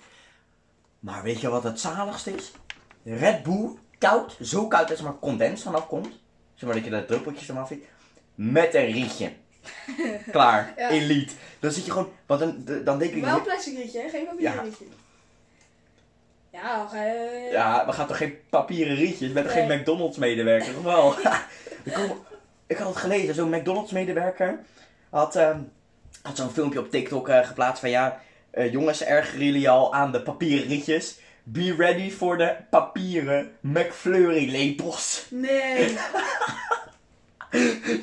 [SPEAKER 1] Maar weet je wat het zaligste is? Red Bull koud. Zo koud dat er maar condens vanaf komt. Zeg maar dat je daar druppeltjes vanaf ziet. Met een rietje. Klaar.
[SPEAKER 2] Ja.
[SPEAKER 1] Elite. Dan zit je gewoon. Want dan, dan denk ik.
[SPEAKER 2] Wel een plastic rietje, hè? geen papieren
[SPEAKER 1] Ja.
[SPEAKER 2] rietje. Ja, eh, dan ga je...
[SPEAKER 1] Ja, we gaan toch geen papieren rietjes met geen
[SPEAKER 2] Nee.
[SPEAKER 1] McDonald's medewerker, of wel? ik, kom- ik had het gelezen, zo'n McDonald's medewerker had, ehm, had zo'n filmpje op TikTok eh, geplaatst van ja, eh, jongens ergeren jullie al aan de papieren rietjes. Be ready voor de papieren McFlurry lepels.
[SPEAKER 2] Nee.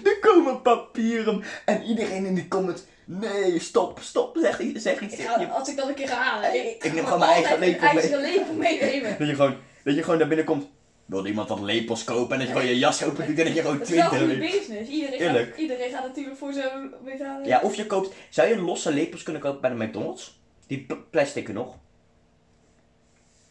[SPEAKER 1] Er komen papieren en iedereen in die comments, nee stop, stop, zeg, i- zeg iets
[SPEAKER 2] Ik
[SPEAKER 1] tegen
[SPEAKER 2] ga,
[SPEAKER 1] je
[SPEAKER 2] als ik dat een keer ga halen.
[SPEAKER 1] Ik neem gewoon mijn eigen
[SPEAKER 2] altijd
[SPEAKER 1] lepel
[SPEAKER 2] een eigen lepel meenemen.
[SPEAKER 1] Dat je gewoon, dat je gewoon daar binnenkomt. Wil iemand wat lepels kopen? En dat je gewoon je jas open doet en dat je gewoon
[SPEAKER 2] Het is wel
[SPEAKER 1] twintig
[SPEAKER 2] goede
[SPEAKER 1] lepels.
[SPEAKER 2] business. Iedereen
[SPEAKER 1] Eerlijk.
[SPEAKER 2] gaat, iedereen gaat natuurlijk voor zo'n betalen.
[SPEAKER 1] Ja, of je koopt. Zou je losse lepels kunnen kopen bij de McDonald's? Die pl- plastic nog.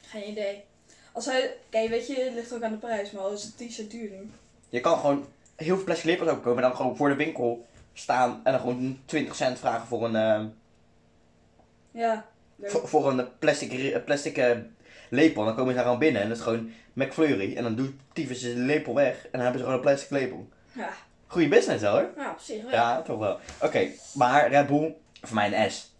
[SPEAKER 2] Geen idee. Als hij... Kijk, weet je, het ligt ook aan de prijs, maar als het t-shirt duur doen.
[SPEAKER 1] Je kan gewoon heel veel plastic lepels opkomen en dan gewoon voor de winkel staan en dan gewoon 20 cent vragen voor een, eh,
[SPEAKER 2] Ja. leuk.
[SPEAKER 1] voor, voor een plastic, ri- eh, plastic eh, lepel. En dan komen ze daar gewoon binnen en dat is gewoon McFlurry. En dan doet tyfus de lepel weg en dan hebben ze gewoon een plastic lepel.
[SPEAKER 2] Ja.
[SPEAKER 1] Goeie business hoor.
[SPEAKER 2] Nou, op zich wel. Ja.
[SPEAKER 1] Ja, toch wel. Oké, maar Red Bull, voor mij een S.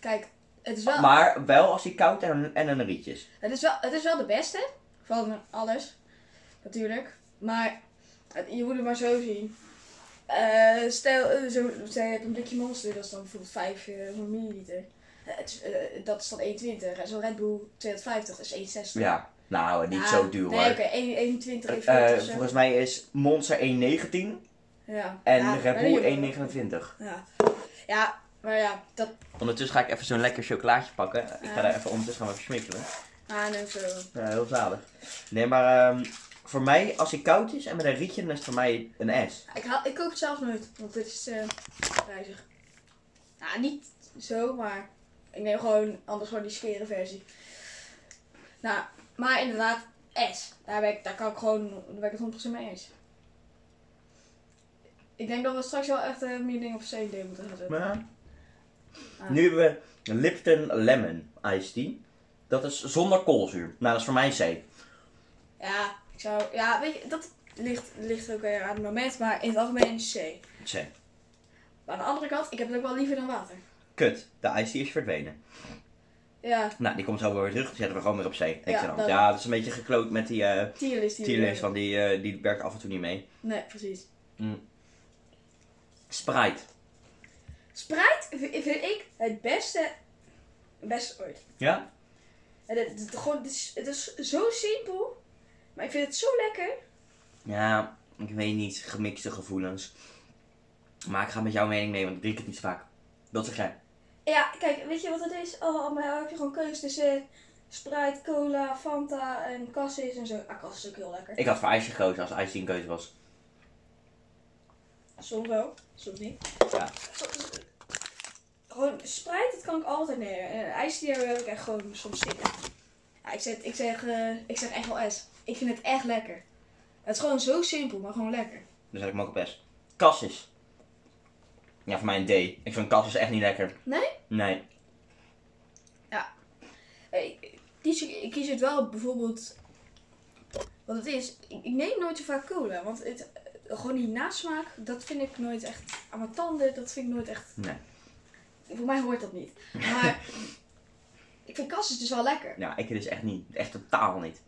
[SPEAKER 2] kijk. Het is, wel,
[SPEAKER 1] Maar wel als die koud en, en een rietje is.
[SPEAKER 2] het, is wel, het is wel de beste van alles. Natuurlijk. Maar het- je moet het maar zo zien. Eh, stel, eh, zo, stel je hebt een blikje monster, dat is dan bijvoorbeeld 500 milliliter. Eh, het is, eh, dat is dan 1,20. En zo'n Red Bull 250 is 1,60.
[SPEAKER 1] Ja, nou, niet
[SPEAKER 2] Ja,
[SPEAKER 1] zo duur
[SPEAKER 2] Nee,
[SPEAKER 1] hoor.
[SPEAKER 2] oké, 1,21, 1,40
[SPEAKER 1] Eh,
[SPEAKER 2] of zo.
[SPEAKER 1] volgens mij is Monster 1,19
[SPEAKER 2] Ja.
[SPEAKER 1] en
[SPEAKER 2] ja,
[SPEAKER 1] Red
[SPEAKER 2] maar die-
[SPEAKER 1] Bull 1,29.
[SPEAKER 2] Ja. ja, maar ja, dat...
[SPEAKER 1] Ondertussen ga ik even zo'n lekker chocolaatje pakken. Ik ga daar even ondertussen gaan we smikkelen.
[SPEAKER 2] Ah, nee, zo.
[SPEAKER 1] Ja, heel zalig. Nee, maar ehm, voor mij, als hij koud is en met een rietje, dan is het voor mij een S.
[SPEAKER 2] Ik, haal, ik koop het zelf nooit, want dit is eh prijzig. Nou, niet zo, maar ik neem gewoon anders gewoon die skere versie. Nou, maar inderdaad, S. Daar, ben ik, daar kan ik gewoon, daar ben ik het 100% mee eens. Ik denk dat we straks wel echt eh, meer dingen op CD moeten gaan zetten.
[SPEAKER 1] Maar...
[SPEAKER 2] Ah.
[SPEAKER 1] Nu hebben we Lipton Lemon Iced Tea. Dat is zonder koolzuur. Nou, dat is voor mij C.
[SPEAKER 2] Ja, ik zou, ja, weet je, dat ligt, ligt ook weer aan het moment, maar in het algemeen C.
[SPEAKER 1] C.
[SPEAKER 2] Maar aan de andere kant, ik heb het ook wel liever dan water.
[SPEAKER 1] Kut, de iced tea is verdwenen.
[SPEAKER 2] Ja,
[SPEAKER 1] Nou, die komt zo weer terug. Die zetten we gewoon weer op C. Ik
[SPEAKER 2] Ja,
[SPEAKER 1] ja,
[SPEAKER 2] dat-
[SPEAKER 1] dat... ja, dat is een beetje gekloot met die eh
[SPEAKER 2] tierlist die
[SPEAKER 1] tierlist, want die, eh, die werkt af en toe niet mee.
[SPEAKER 2] Nee, precies.
[SPEAKER 1] Sprite.
[SPEAKER 2] Sprite vi- vind ik het beste, het beste ooit.
[SPEAKER 1] Ja?
[SPEAKER 2] Het, het, het- gewoon, het, is, het is zo simpel, maar ik vind het zo lekker.
[SPEAKER 1] Ja, ik weet niet. Gemixte gevoelens. Maar ik ga met jouw mening mee, want ik drink het niet zo vaak. Wat zeg jij?
[SPEAKER 2] Ja, kijk, weet je wat het is? Oh, maar dan heb je gewoon keuze tussen eh, Sprite, cola, Fanta en Cassis en zo. Ah, Cassis is ook heel lekker.
[SPEAKER 1] Ik had voor ijsje gekozen als ijsje een keuze was.
[SPEAKER 2] Soms wel, soms niet.
[SPEAKER 1] Ja.
[SPEAKER 2] Soms- gewoon Sprite, dat kan ik altijd nemen. En een ijsdier heb ik echt gewoon soms zitten. Ja, ik zeg, ik, zeg, eh, ik zeg echt wel S. Ik vind het echt lekker. Het is gewoon zo simpel, maar gewoon lekker.
[SPEAKER 1] Dus had ik hem ook op S. Cassis. Ja, voor mij een D. Ik vind Cassis echt niet lekker.
[SPEAKER 2] Nee?
[SPEAKER 1] Nee.
[SPEAKER 2] Eh, Ik, ik kies, ik kies het wel bijvoorbeeld. Wat het is, ik, ik neem nooit zo vaak cola. Want het, eh, gewoon die nasmaak, dat vind ik nooit echt. Aan mijn tanden, dat vind ik nooit echt.
[SPEAKER 1] Nee.
[SPEAKER 2] Voor mij hoort dat niet. Maar ik vind kassis dus wel lekker.
[SPEAKER 1] Ja, ik dus echt niet. Echt totaal niet.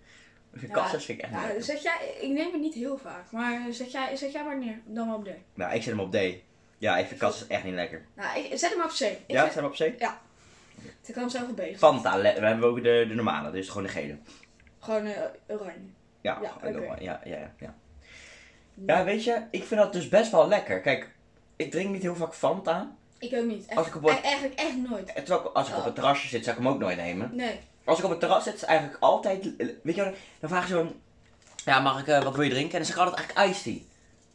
[SPEAKER 1] Ik vind
[SPEAKER 2] Ja,
[SPEAKER 1] Cassis vind ik echt niet
[SPEAKER 2] Ja,
[SPEAKER 1] lekker.
[SPEAKER 2] zeg jij, ik neem het niet heel vaak. Maar zet jij, zet jij maar neer, dan maar op D.
[SPEAKER 1] Nou, ik zet hem op D. Ja, ik vind Cassis echt niet lekker.
[SPEAKER 2] Nou, dus- ik, zet hem maar op C. Ik
[SPEAKER 1] Ja,
[SPEAKER 2] vind-
[SPEAKER 1] zet hem op C?
[SPEAKER 2] ik kan hem zelf op B.
[SPEAKER 1] Fanta. le- We hebben ook de, de normale, dus gewoon de gele.
[SPEAKER 2] Gewoon eh, oranje.
[SPEAKER 1] Ja,
[SPEAKER 2] Ja,
[SPEAKER 1] ja,
[SPEAKER 2] oké.
[SPEAKER 1] ja, ja, ja, ja. Ja, weet je, ik vind dat dus best wel lekker. Kijk, ik drink niet heel vaak Fanta.
[SPEAKER 2] Ik ook niet. Echt,
[SPEAKER 1] Als ik op wat-
[SPEAKER 2] Eigenlijk echt nooit.
[SPEAKER 1] En Terwijl ik- als ik op het terrasje zit, zou ik hem ook nooit nemen.
[SPEAKER 2] Nee.
[SPEAKER 1] Als ik op het terras zit, is eigenlijk altijd... Weet je wel, dan vraag je zo'n... Ja, mag ik, eh, wat wil je drinken? En dan zeg ik altijd eigenlijk iced tea.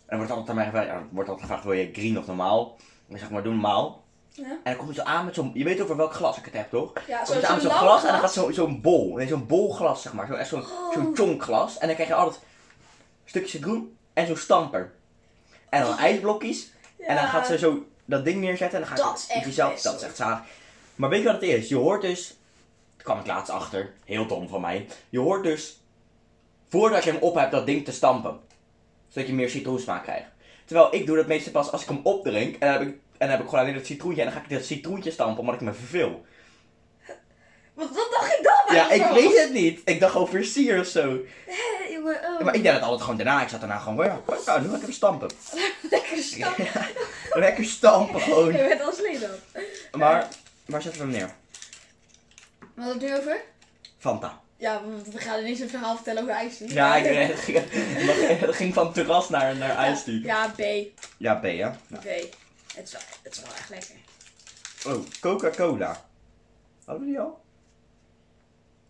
[SPEAKER 1] En dan wordt altijd aan mij gevraagd, ja, dan wordt altijd gevraagd, wil je green of normaal? En dan zeg ik maar, doe normaal.
[SPEAKER 2] Ja.
[SPEAKER 1] En dan komt ze aan met zo'n... Je weet over welk glas ik het heb, toch?
[SPEAKER 2] Ja,
[SPEAKER 1] Dan
[SPEAKER 2] zo-
[SPEAKER 1] komt ze aan met
[SPEAKER 2] zo'n
[SPEAKER 1] zo'n
[SPEAKER 2] lauw
[SPEAKER 1] glas en dan
[SPEAKER 2] glas.
[SPEAKER 1] gaat zo- zo'n bol. Nee, zo'n bolglas, zeg maar. Zo, echt zo'n
[SPEAKER 2] Oh.
[SPEAKER 1] zo'n chonkglas. En dan krijg je altijd stukjes citroen en zo'n stamper. En dan ijsblokjes. En dan
[SPEAKER 2] Oh. Ja.
[SPEAKER 1] gaat ze zo dat ding neerzetten. En dan gaat
[SPEAKER 2] Dat is
[SPEAKER 1] ze
[SPEAKER 2] echt
[SPEAKER 1] jezelf-
[SPEAKER 2] best,
[SPEAKER 1] Dat is echt zalig. Maar weet je wat het is? Je hoort dus... Daar kwam ik laatst achter. Heel dom van mij. Je hoort dus... Voordat je hem op hebt, dat ding te stampen. Zodat je meer citroensmaak krijgt. Terwijl ik doe dat meestal pas als ik hem opdrink. En dan heb ik, en dan heb ik gewoon alleen dat citroentje. En dan ga ik dat citroentje stampen omdat ik me verveel.
[SPEAKER 2] Wat, wat dacht ik dan?
[SPEAKER 1] Ja, ik
[SPEAKER 2] eigenlijk?
[SPEAKER 1] weet het niet. Ik dacht over sier of zo.
[SPEAKER 2] Eh, jongen, oh.
[SPEAKER 1] Ja, maar ik deed het altijd gewoon daarna. Ik zat daarna gewoon, ja, nou, nu ga ik hem stampen.
[SPEAKER 2] Lekker stap.
[SPEAKER 1] Lekker stampen
[SPEAKER 2] Je
[SPEAKER 1] gewoon.
[SPEAKER 2] bent als Leno.
[SPEAKER 1] Maar, waar zetten we hem neer?
[SPEAKER 2] Wat had het nu over?
[SPEAKER 1] Fanta.
[SPEAKER 2] Ja, want we gaan ineens een verhaal vertellen over ijsdier.
[SPEAKER 1] Ja, ik, het ging, het ging van terras naar, naar ijstuur. Ja.
[SPEAKER 2] Ja,
[SPEAKER 1] B
[SPEAKER 2] B.
[SPEAKER 1] hè?
[SPEAKER 2] B. Het is, wel, het is wel echt lekker.
[SPEAKER 1] Oh, Coca-Cola. Hadden we die al?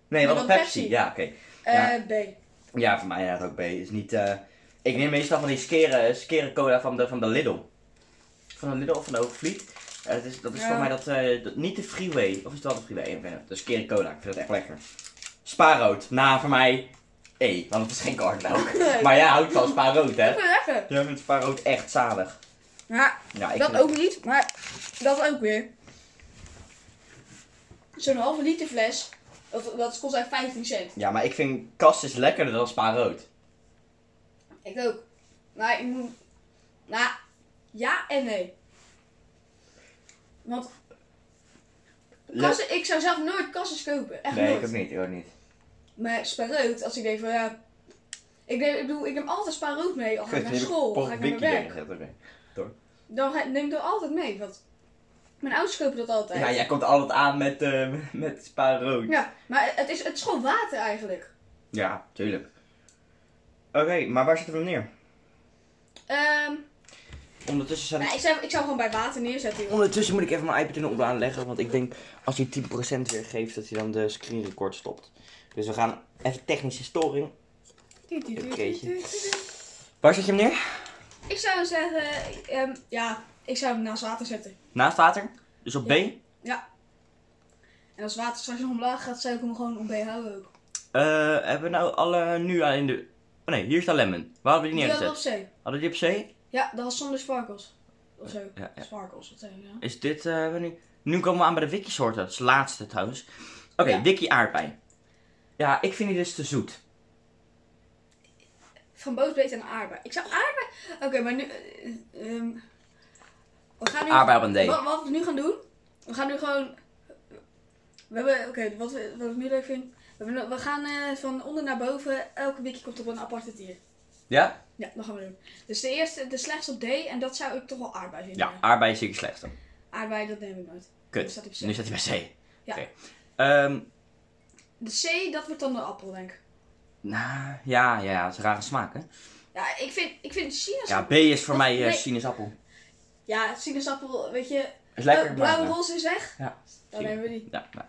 [SPEAKER 1] Nee, wat
[SPEAKER 2] Oh, dan
[SPEAKER 1] een Pepsi.
[SPEAKER 2] Pepsi.
[SPEAKER 1] Ja, oké.
[SPEAKER 2] Eh, B.
[SPEAKER 1] Ja, voor mij inderdaad ook B. Is niet, eh, ik neem meestal van die skere, skere cola van de, van de Lidl. Van de Lidl of van de Hoogvliet. Eh, dat is, dat is
[SPEAKER 2] Ja.
[SPEAKER 1] voor mij dat, eh, dat- niet de freeway. Of is het wel de freeway? Ik weet het. De skere cola. Ik vind dat echt lekker. Spaarrood. Nou, voor mij E. Want het is geen kartlauw.
[SPEAKER 2] Nee.
[SPEAKER 1] maar jij houdt van spaarrood, hè?
[SPEAKER 2] Ik vind het lekker.
[SPEAKER 1] Jij vindt spaarrood echt zalig.
[SPEAKER 2] Ja,
[SPEAKER 1] Ja, ik
[SPEAKER 2] dat
[SPEAKER 1] vind-
[SPEAKER 2] ook niet, maar dat ook weer. Zo'n halve liter fles, dat, dat kost eigenlijk 15 cent.
[SPEAKER 1] Ja, maar ik vind kast is lekkerder dan spaarrood.
[SPEAKER 2] Ik ook. Maar ik moet... Nou, ja en nee. Want kassen, ik zou zelf nooit kassen kopen. Echt
[SPEAKER 1] Nee,
[SPEAKER 2] nooit.
[SPEAKER 1] ik ook niet. Ik ook niet.
[SPEAKER 2] Maar spaarrood, als ik denk van ja. Ik neem, ik, bedoel, ik neem altijd spaarrood mee. Al ga ik naar school, al ga ik naar mijn werk. Dan ga- neem ik dat altijd mee. Want mijn ouders kopen dat altijd.
[SPEAKER 1] Ja, jij komt altijd aan met, eh met spaarrood.
[SPEAKER 2] Ja, maar het is, het is gewoon water eigenlijk.
[SPEAKER 1] Ja, tuurlijk. Oké, maar waar zetten we hem neer?
[SPEAKER 2] Ehm,
[SPEAKER 1] Ondertussen, zet
[SPEAKER 2] nou,
[SPEAKER 1] ik...
[SPEAKER 2] ik, zou, ik zou gewoon bij water neerzetten. joh.
[SPEAKER 1] Ondertussen moet ik even mijn iPad in de oplaan leggen, want ik denk als hij 10% weer geeft, dat hij dan de screen record stopt. Dus we gaan even technische storing. Oké. Waar zet je hem neer?
[SPEAKER 2] Ik zou zeggen, ehm, ja, ik zou hem naast water zetten.
[SPEAKER 1] Naast water? Dus op
[SPEAKER 2] Ja.
[SPEAKER 1] B?
[SPEAKER 2] En als waterstatiën omlaag gaat, zou ik hem gewoon op B houden ook.
[SPEAKER 1] Eh, hebben we nou alle nu al in de... Oh nee, hier staat Lemon. Waar hadden we die
[SPEAKER 2] Die hadden
[SPEAKER 1] neergezet?
[SPEAKER 2] we op C.
[SPEAKER 1] Hadden we die op C?
[SPEAKER 2] Ja, dat was zonder sparkles. Of zo.
[SPEAKER 1] Ja, ja.
[SPEAKER 2] Sparkles, wat zeg ik nou?
[SPEAKER 1] Is dit... eh, we nu... nu komen we aan bij de wiki-soorten. Dat is de laatste trouwens. Oké,
[SPEAKER 2] Ja.
[SPEAKER 1] wiki aardbei. Ja, ik vind die dus te zoet.
[SPEAKER 2] Framboosbeet en aardbei. Ik zou aardbei... Oké, maar nu... eh, ehm, we gaan nu...
[SPEAKER 1] Aardbei op een D.
[SPEAKER 2] Wat, wat we nu gaan doen... We gaan nu gewoon... We hebben... Oké, wat, we- wat ik nu leuk vind... We, hebben- we gaan eh, van onder naar boven. Elke wiki komt op een aparte tier.
[SPEAKER 1] Ja?
[SPEAKER 2] Ja, dat gaan we doen. Dus de eerste, de slechtste op D. En dat zou ik toch wel aardbei vinden.
[SPEAKER 1] Ja, aardbei is zeker slechter.
[SPEAKER 2] Aardbei, dat neem ik nooit. Nu
[SPEAKER 1] Kut.
[SPEAKER 2] staat hij op C.
[SPEAKER 1] Nu staat hij bij C.
[SPEAKER 2] Ja.
[SPEAKER 1] Oké. Ehm,
[SPEAKER 2] De C, dat wordt dan de appel, denk ik.
[SPEAKER 1] nou, ja, ja, het is een rare smaak, hè?
[SPEAKER 2] Ja, ik vind, ik vind sinaasappel...
[SPEAKER 1] Ja, B is voor mij eh,
[SPEAKER 2] Nee.
[SPEAKER 1] sinaasappel.
[SPEAKER 2] Ja, sinaasappel, weet je...
[SPEAKER 1] Is lekker,
[SPEAKER 2] eh, blauwe
[SPEAKER 1] maar-
[SPEAKER 2] roze is weg.
[SPEAKER 1] Ja.
[SPEAKER 2] Dan nemen we die.
[SPEAKER 1] Ja, nou,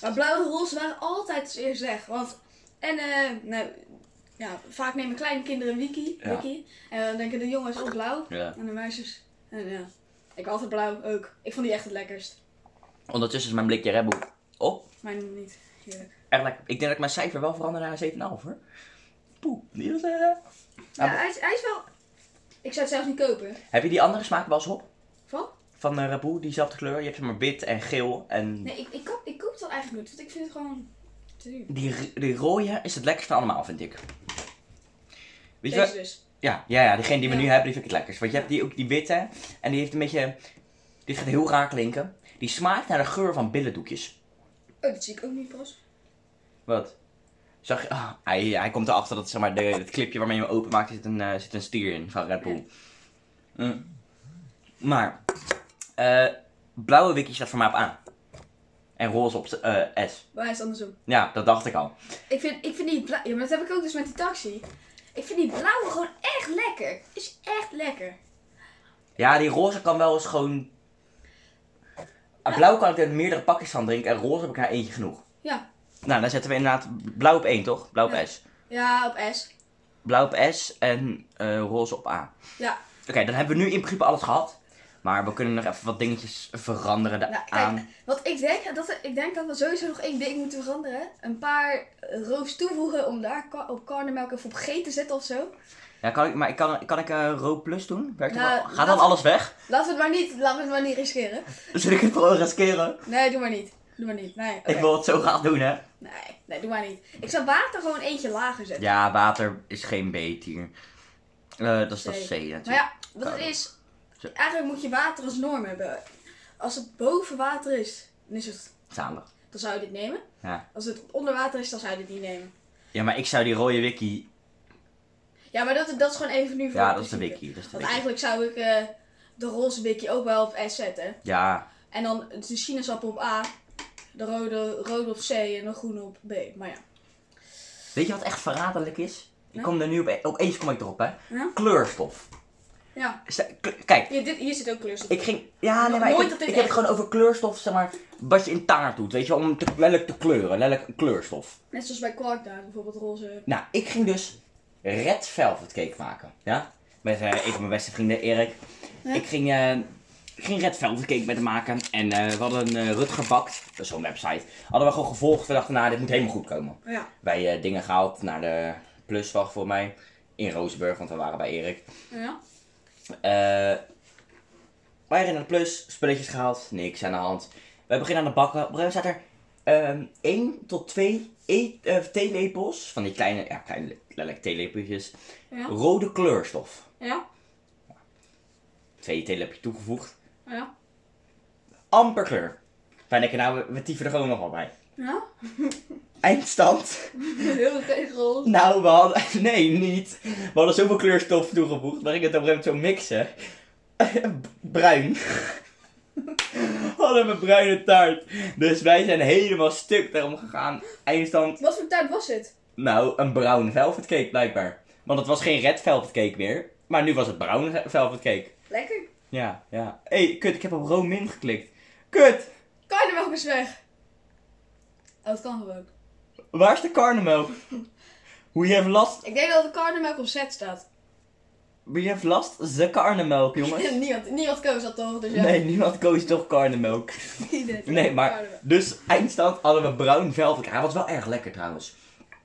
[SPEAKER 2] Maar blauwe en roze waren altijd als eerst weg. Want, en eh, nou, ja, vaak nemen kleine kinderen wiki.
[SPEAKER 1] Ja.
[SPEAKER 2] wiki en dan denken de jongens ook blauw.
[SPEAKER 1] ja.
[SPEAKER 2] En de meisjes. En, ja. Ik altijd blauw ook. Ik vond die echt het lekkerst.
[SPEAKER 1] Ondertussen is mijn blikje Red Bull op.
[SPEAKER 2] Mijn niet. Heerlijk.
[SPEAKER 1] Echt lekker. Ik denk dat ik mijn cijfer wel verander naar een 7,5 hoor. Poeh, die was, eh,
[SPEAKER 2] Ja,
[SPEAKER 1] Ah, maar-
[SPEAKER 2] hij, is, hij is wel... Ik zou het zelf niet kopen.
[SPEAKER 1] Heb je die andere smaak wel eens op?
[SPEAKER 2] Van?
[SPEAKER 1] Van eh Red Bull, diezelfde kleur. Je hebt zeg maar wit en geel. En
[SPEAKER 2] Nee, ik, ik, koop, ik koop het wel eigenlijk niet. Want ik vind het gewoon te duur.
[SPEAKER 1] die, r- die rode is het lekkerste allemaal, vind ik. Weet je
[SPEAKER 2] Deze
[SPEAKER 1] wel?
[SPEAKER 2] dus.
[SPEAKER 1] Ja, ja, ja, diegene die we
[SPEAKER 2] Ja.
[SPEAKER 1] nu hebben, die vind ik het lekkerst. Want je hebt die, ook die witte. En die heeft een beetje... Dit gaat heel raar klinken. Die smaakt naar de geur van billendoekjes.
[SPEAKER 2] Oh, dat zie ik ook niet pas.
[SPEAKER 1] Wat? Zag je... ah, hij, hij komt erachter dat zeg maar, de, het clipje waarmee je hem openmaakt zit een, eh, zit een stier in van Red Bull. Mm. Maar, eh, blauwe wiki staat voor mij op A. En roze op eh, S.
[SPEAKER 2] Maar hij is andersom.
[SPEAKER 1] Ja, dat dacht ik al.
[SPEAKER 2] Ik vind, ik vind die blauwe... Ja, maar dat heb ik ook dus met die taxi. Ik vind die blauwe gewoon echt lekker. Is echt lekker.
[SPEAKER 1] Ja, die roze kan wel eens gewoon... Ah, Blauw kan ik uit meerdere pakjes van drinken en roze heb ik naar eentje genoeg.
[SPEAKER 2] Ja.
[SPEAKER 1] Nou, dan zetten we inderdaad blauw op 1, toch? Blauw op
[SPEAKER 2] Ja.
[SPEAKER 1] S.
[SPEAKER 2] Ja, op S.
[SPEAKER 1] Blauw op S en eh, roze op A.
[SPEAKER 2] Ja.
[SPEAKER 1] Oké, dan hebben we nu in principe alles gehad. Maar we kunnen nog even wat dingetjes veranderen da-
[SPEAKER 2] Nou, kijk.
[SPEAKER 1] aan.
[SPEAKER 2] Wat ik denk, dat, er- ik denk dat we sowieso nog één ding moeten veranderen. Een paar eh, roos toevoegen om daar ka- op karnemelk of op G te zetten of zo.
[SPEAKER 1] Ja, kan ik, maar kan, kan ik eh rood plus doen? Werkt dat
[SPEAKER 2] Nou,
[SPEAKER 1] wel? Gaat dan
[SPEAKER 2] laten we-
[SPEAKER 1] alles weg?
[SPEAKER 2] Laten we het maar niet, laten we het maar niet riskeren.
[SPEAKER 1] Zul ik het gewoon riskeren?
[SPEAKER 2] Nee, doe maar niet. Doe maar niet. Nee, oké.
[SPEAKER 1] Ik wil het zo graag doen, hè?
[SPEAKER 2] nee, nee, doe maar niet. Ik zou water gewoon eentje lager zetten.
[SPEAKER 1] Ja, water is geen B-tier. Eh, dat is dat is C
[SPEAKER 2] C.
[SPEAKER 1] natuurlijk.
[SPEAKER 2] Maar ja, wat het
[SPEAKER 1] Karel.
[SPEAKER 2] is,
[SPEAKER 1] Zo.
[SPEAKER 2] eigenlijk moet je water als norm hebben. Als het boven water is, dan is het
[SPEAKER 1] Zalig.
[SPEAKER 2] dan zou je dit nemen.
[SPEAKER 1] Ja.
[SPEAKER 2] Als het onder water is, dan zou je dit niet nemen.
[SPEAKER 1] ja, maar ik zou die rode wiki...
[SPEAKER 2] Ja, maar dat, dat is gewoon even nu voor
[SPEAKER 1] Ja,
[SPEAKER 2] het
[SPEAKER 1] dat is de
[SPEAKER 2] principe.
[SPEAKER 1] wiki. Dat is de
[SPEAKER 2] Want
[SPEAKER 1] wiki.
[SPEAKER 2] eigenlijk zou ik eh, de roze wiki ook wel op S zetten.
[SPEAKER 1] Ja,
[SPEAKER 2] En dan de sinaasappel op A, de rode, rode op C en de groene op B. Maar ja.
[SPEAKER 1] Weet je wat echt verraderlijk is? Ik
[SPEAKER 2] Ja?
[SPEAKER 1] kom er nu op, opeens kom ik erop, hè?
[SPEAKER 2] Ja?
[SPEAKER 1] Kleurstof.
[SPEAKER 2] ja.
[SPEAKER 1] Is dat- k- Kijk,
[SPEAKER 2] Hier, dit, hier zit ook kleurstof.
[SPEAKER 1] ik ging. Ja, nee, maar
[SPEAKER 2] Nooit
[SPEAKER 1] ik, heb,
[SPEAKER 2] dat dit
[SPEAKER 1] ik heb het
[SPEAKER 2] echt-
[SPEAKER 1] gewoon over kleurstof, zeg maar. Wat je in taart doet, weet je, wel, om te, letterlijk te kleuren. Letterlijk een kleurstof.
[SPEAKER 2] Net zoals bij Quark daar, bijvoorbeeld roze.
[SPEAKER 1] Nou, ik ging dus red velvet cake maken. Ja? Met eh, een van mijn beste vrienden, Erik.
[SPEAKER 2] Ja?
[SPEAKER 1] Ik ging. eh, ik ging Red Velvet Cake met hem maken en eh, we hadden een eh, Rutger Bakt, dat is zo'n website, hadden we gewoon gevolgd. We dachten, nou, dit moet helemaal goed komen.
[SPEAKER 2] Ja.
[SPEAKER 1] wij eh, dingen gehaald naar de pluswacht voor mij. In Rozenburg, want we waren bij Erik.
[SPEAKER 2] ja.
[SPEAKER 1] Eh wij gingen naar de plus, spulletjes gehaald, niks aan de hand. Wij beginnen aan de bakken. Op een gegeven moment staat er ehm 1 tot 2 e- eh, theelepels. Van die kleine, ja, kleine letterlijk theelepeltjes.
[SPEAKER 2] Ja.
[SPEAKER 1] Rode kleurstof.
[SPEAKER 2] Ja.
[SPEAKER 1] Twee theelepjes toegevoegd.
[SPEAKER 2] Ja.
[SPEAKER 1] Amper kleur. Wij denken, nou, we, we tieven er gewoon nogal bij.
[SPEAKER 2] Ja.
[SPEAKER 1] Eindstand.
[SPEAKER 2] Heel tegen roze.
[SPEAKER 1] Nou, we hadden... Nee, niet. We hadden zoveel kleurstof toegevoegd, maar ik het op een gegeven moment zo mixen. Bruin. We hadden we bruine taart. Dus wij zijn helemaal stuk daarom gegaan. Eindstand,
[SPEAKER 2] Wat voor taart was het?
[SPEAKER 1] nou, een bruin velvet cake blijkbaar. Want het was geen red velvet cake meer, maar nu was het bruin velvet cake.
[SPEAKER 2] Lekker.
[SPEAKER 1] Ja, ja. Hé, hey, kut, ik heb op Romin geklikt. Kut!
[SPEAKER 2] Karnemelk is weg. Oh, het kan gewoon.
[SPEAKER 1] Waar is de karnemelk? Hoe je even last...
[SPEAKER 2] Ik denk dat de karnemelk op Z staat.
[SPEAKER 1] Maar je hebt last? De karnemelk, jongens.
[SPEAKER 2] niemand, niemand koos dat toch? Dus ja.
[SPEAKER 1] Nee, niemand koos toch karnemelk.
[SPEAKER 2] Iedereen.
[SPEAKER 1] Nee, maar dus eindstand hadden we bruin velvet. Hij was wel erg lekker trouwens.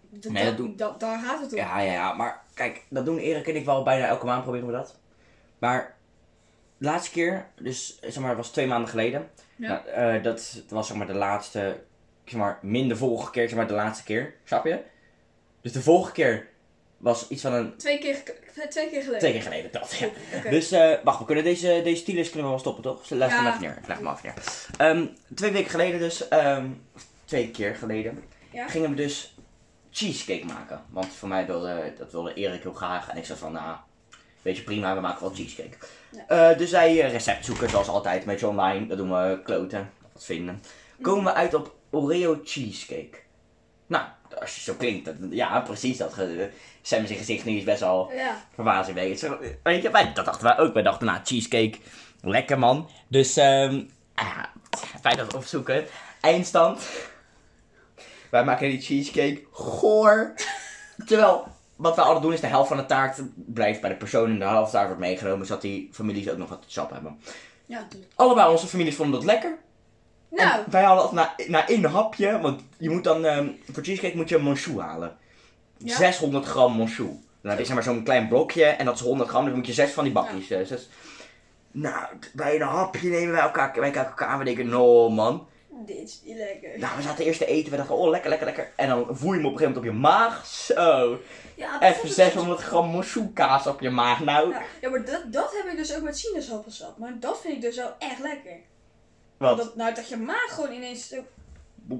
[SPEAKER 2] Da-
[SPEAKER 1] nee, dat
[SPEAKER 2] da-
[SPEAKER 1] doen-
[SPEAKER 2] da- daar gaat het om.
[SPEAKER 1] Ja, ja, ja. Maar kijk, dat doen Erik en ik wel bijna elke maand proberen we dat. Maar de laatste keer, dus zeg maar, dat was twee maanden geleden.
[SPEAKER 2] Ja.
[SPEAKER 1] Nou, eh, dat was zeg maar de laatste, zeg maar, minder vorige keer, zeg maar de laatste keer. Snap je? Dus de vorige keer was iets van een
[SPEAKER 2] Twee, keer, ge- eh, twee keer geleden.
[SPEAKER 1] twee keer geleden dat, ja.
[SPEAKER 2] Oké.
[SPEAKER 1] Dus eh, wacht, we kunnen deze, deze tieners kunnen we wel stoppen, toch? Leg hem
[SPEAKER 2] Ja.
[SPEAKER 1] even neer. Leg hem af neer. Ehm, twee weken geleden dus, ehm, of twee keer geleden,
[SPEAKER 2] Ja.
[SPEAKER 1] gingen we dus cheesecake maken. Want voor mij wilde, dat wilde Erik heel graag. En ik zei van, nou, weet je, prima, we maken wel cheesecake. Eh, dus wij eh, recept zoeken, zoals altijd, met je online. Dat doen we kloten, wat vinden. Komen we uit op Oreo cheesecake. Nou, als je zo klinkt, dat, ja, precies dat. ge- Sam zijn gezicht nu is best wel
[SPEAKER 2] Ja.
[SPEAKER 1] verbazing weg. Zo, Weet je, wij, dat dachten wij ook. Wij dachten, nou, cheesecake, lekker man. Dus, ehm ah, wij dat opzoeken. Eindstand. Wij maken die cheesecake goor. Terwijl, wat we altijd doen is de helft van de taart blijft bij de persoon en de helft daar wordt meegenomen, zodat die families ook nog wat te sap hebben.
[SPEAKER 2] Ja, natuurlijk.
[SPEAKER 1] Allebei onze families vonden dat lekker.
[SPEAKER 2] Nou,
[SPEAKER 1] En wij hadden altijd na, na één hapje, want je moet dan, ehm, voor cheesecake moet je een monchou halen.
[SPEAKER 2] Ja.
[SPEAKER 1] 600 gram monchou. Dan heb je zeg maar zo'n klein blokje en dat is 100 gram, dus dan moet je zes van die bakjes. eh, zes. Nou, t- bij een hapje nemen wij elkaar, wij kijken elkaar aan, we denken, no man.
[SPEAKER 2] dit is niet lekker.
[SPEAKER 1] Nou, we zaten eerst te eten, we dachten, oh lekker, lekker, lekker. En dan voel je hem op een gegeven moment op je maag, zo.
[SPEAKER 2] ja, dat
[SPEAKER 1] Even
[SPEAKER 2] vond ik-
[SPEAKER 1] 600 gram monchou kaas op je maag, nou.
[SPEAKER 2] Ja, ja, maar dat, dat heb ik dus ook met sinaasappelsap. Maar dat vind ik dus wel echt lekker.
[SPEAKER 1] Wat?
[SPEAKER 2] Dat, nou, dat je maag gewoon ineens... zo-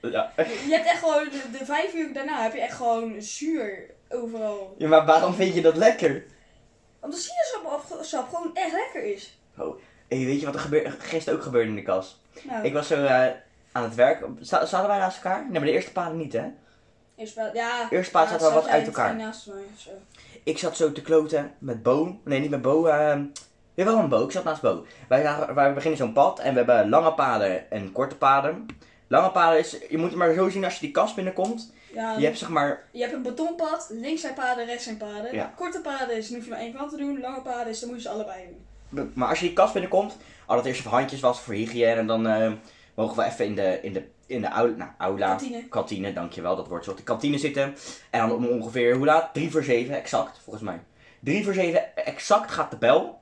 [SPEAKER 1] Ja.
[SPEAKER 2] Je hebt echt gewoon... De, de vijf uur daarna heb je echt gewoon zuur overal.
[SPEAKER 1] ja, maar waarom vind je dat lekker?
[SPEAKER 2] Omdat sinaasappelsap gewoon echt lekker is.
[SPEAKER 1] Oh, hey, weet je wat er gebeur- gisteren ook gebeurde in de kas?
[SPEAKER 2] Nou,
[SPEAKER 1] Ik was zo eh, aan het werk. Za- zaten wij naast elkaar? Nee, maar de eerste paden niet, hè?
[SPEAKER 2] eerst wel- ja,
[SPEAKER 1] Eerst plaats
[SPEAKER 2] ja,
[SPEAKER 1] zaten we wat
[SPEAKER 2] zat jij
[SPEAKER 1] uit elkaar.
[SPEAKER 2] Naast mij of zo.
[SPEAKER 1] Ik zat zo te kloten met Bo. Nee, niet met Bo. eh, ja, wel een Bo. Ik zat naast Bo. Wij, zagen- wij beginnen zo'n pad en we hebben lange paden en korte paden. Lange paden is, je moet het maar zo zien als je die kast binnenkomt.
[SPEAKER 2] Ja,
[SPEAKER 1] Je hebt zeg maar,
[SPEAKER 2] Je hebt een betonpad, links zijn paden, rechts zijn paden.
[SPEAKER 1] Ja.
[SPEAKER 2] Korte paden is, dan hoef je maar één kant te doen. Lange paden is, dan moet je ze allebei doen.
[SPEAKER 1] maar als je die kast binnenkomt, al dat eerst even handjes was voor hygiëne. En dan eh, mogen we even in de, in de, in de aula, nou, aula,
[SPEAKER 2] Kantine.
[SPEAKER 1] kantine, dankjewel, dat wordt zo. De kantine zitten. En dan om ongeveer, hoe laat? 3 voor 7, exact, volgens mij. 3 voor 7, exact gaat de bel.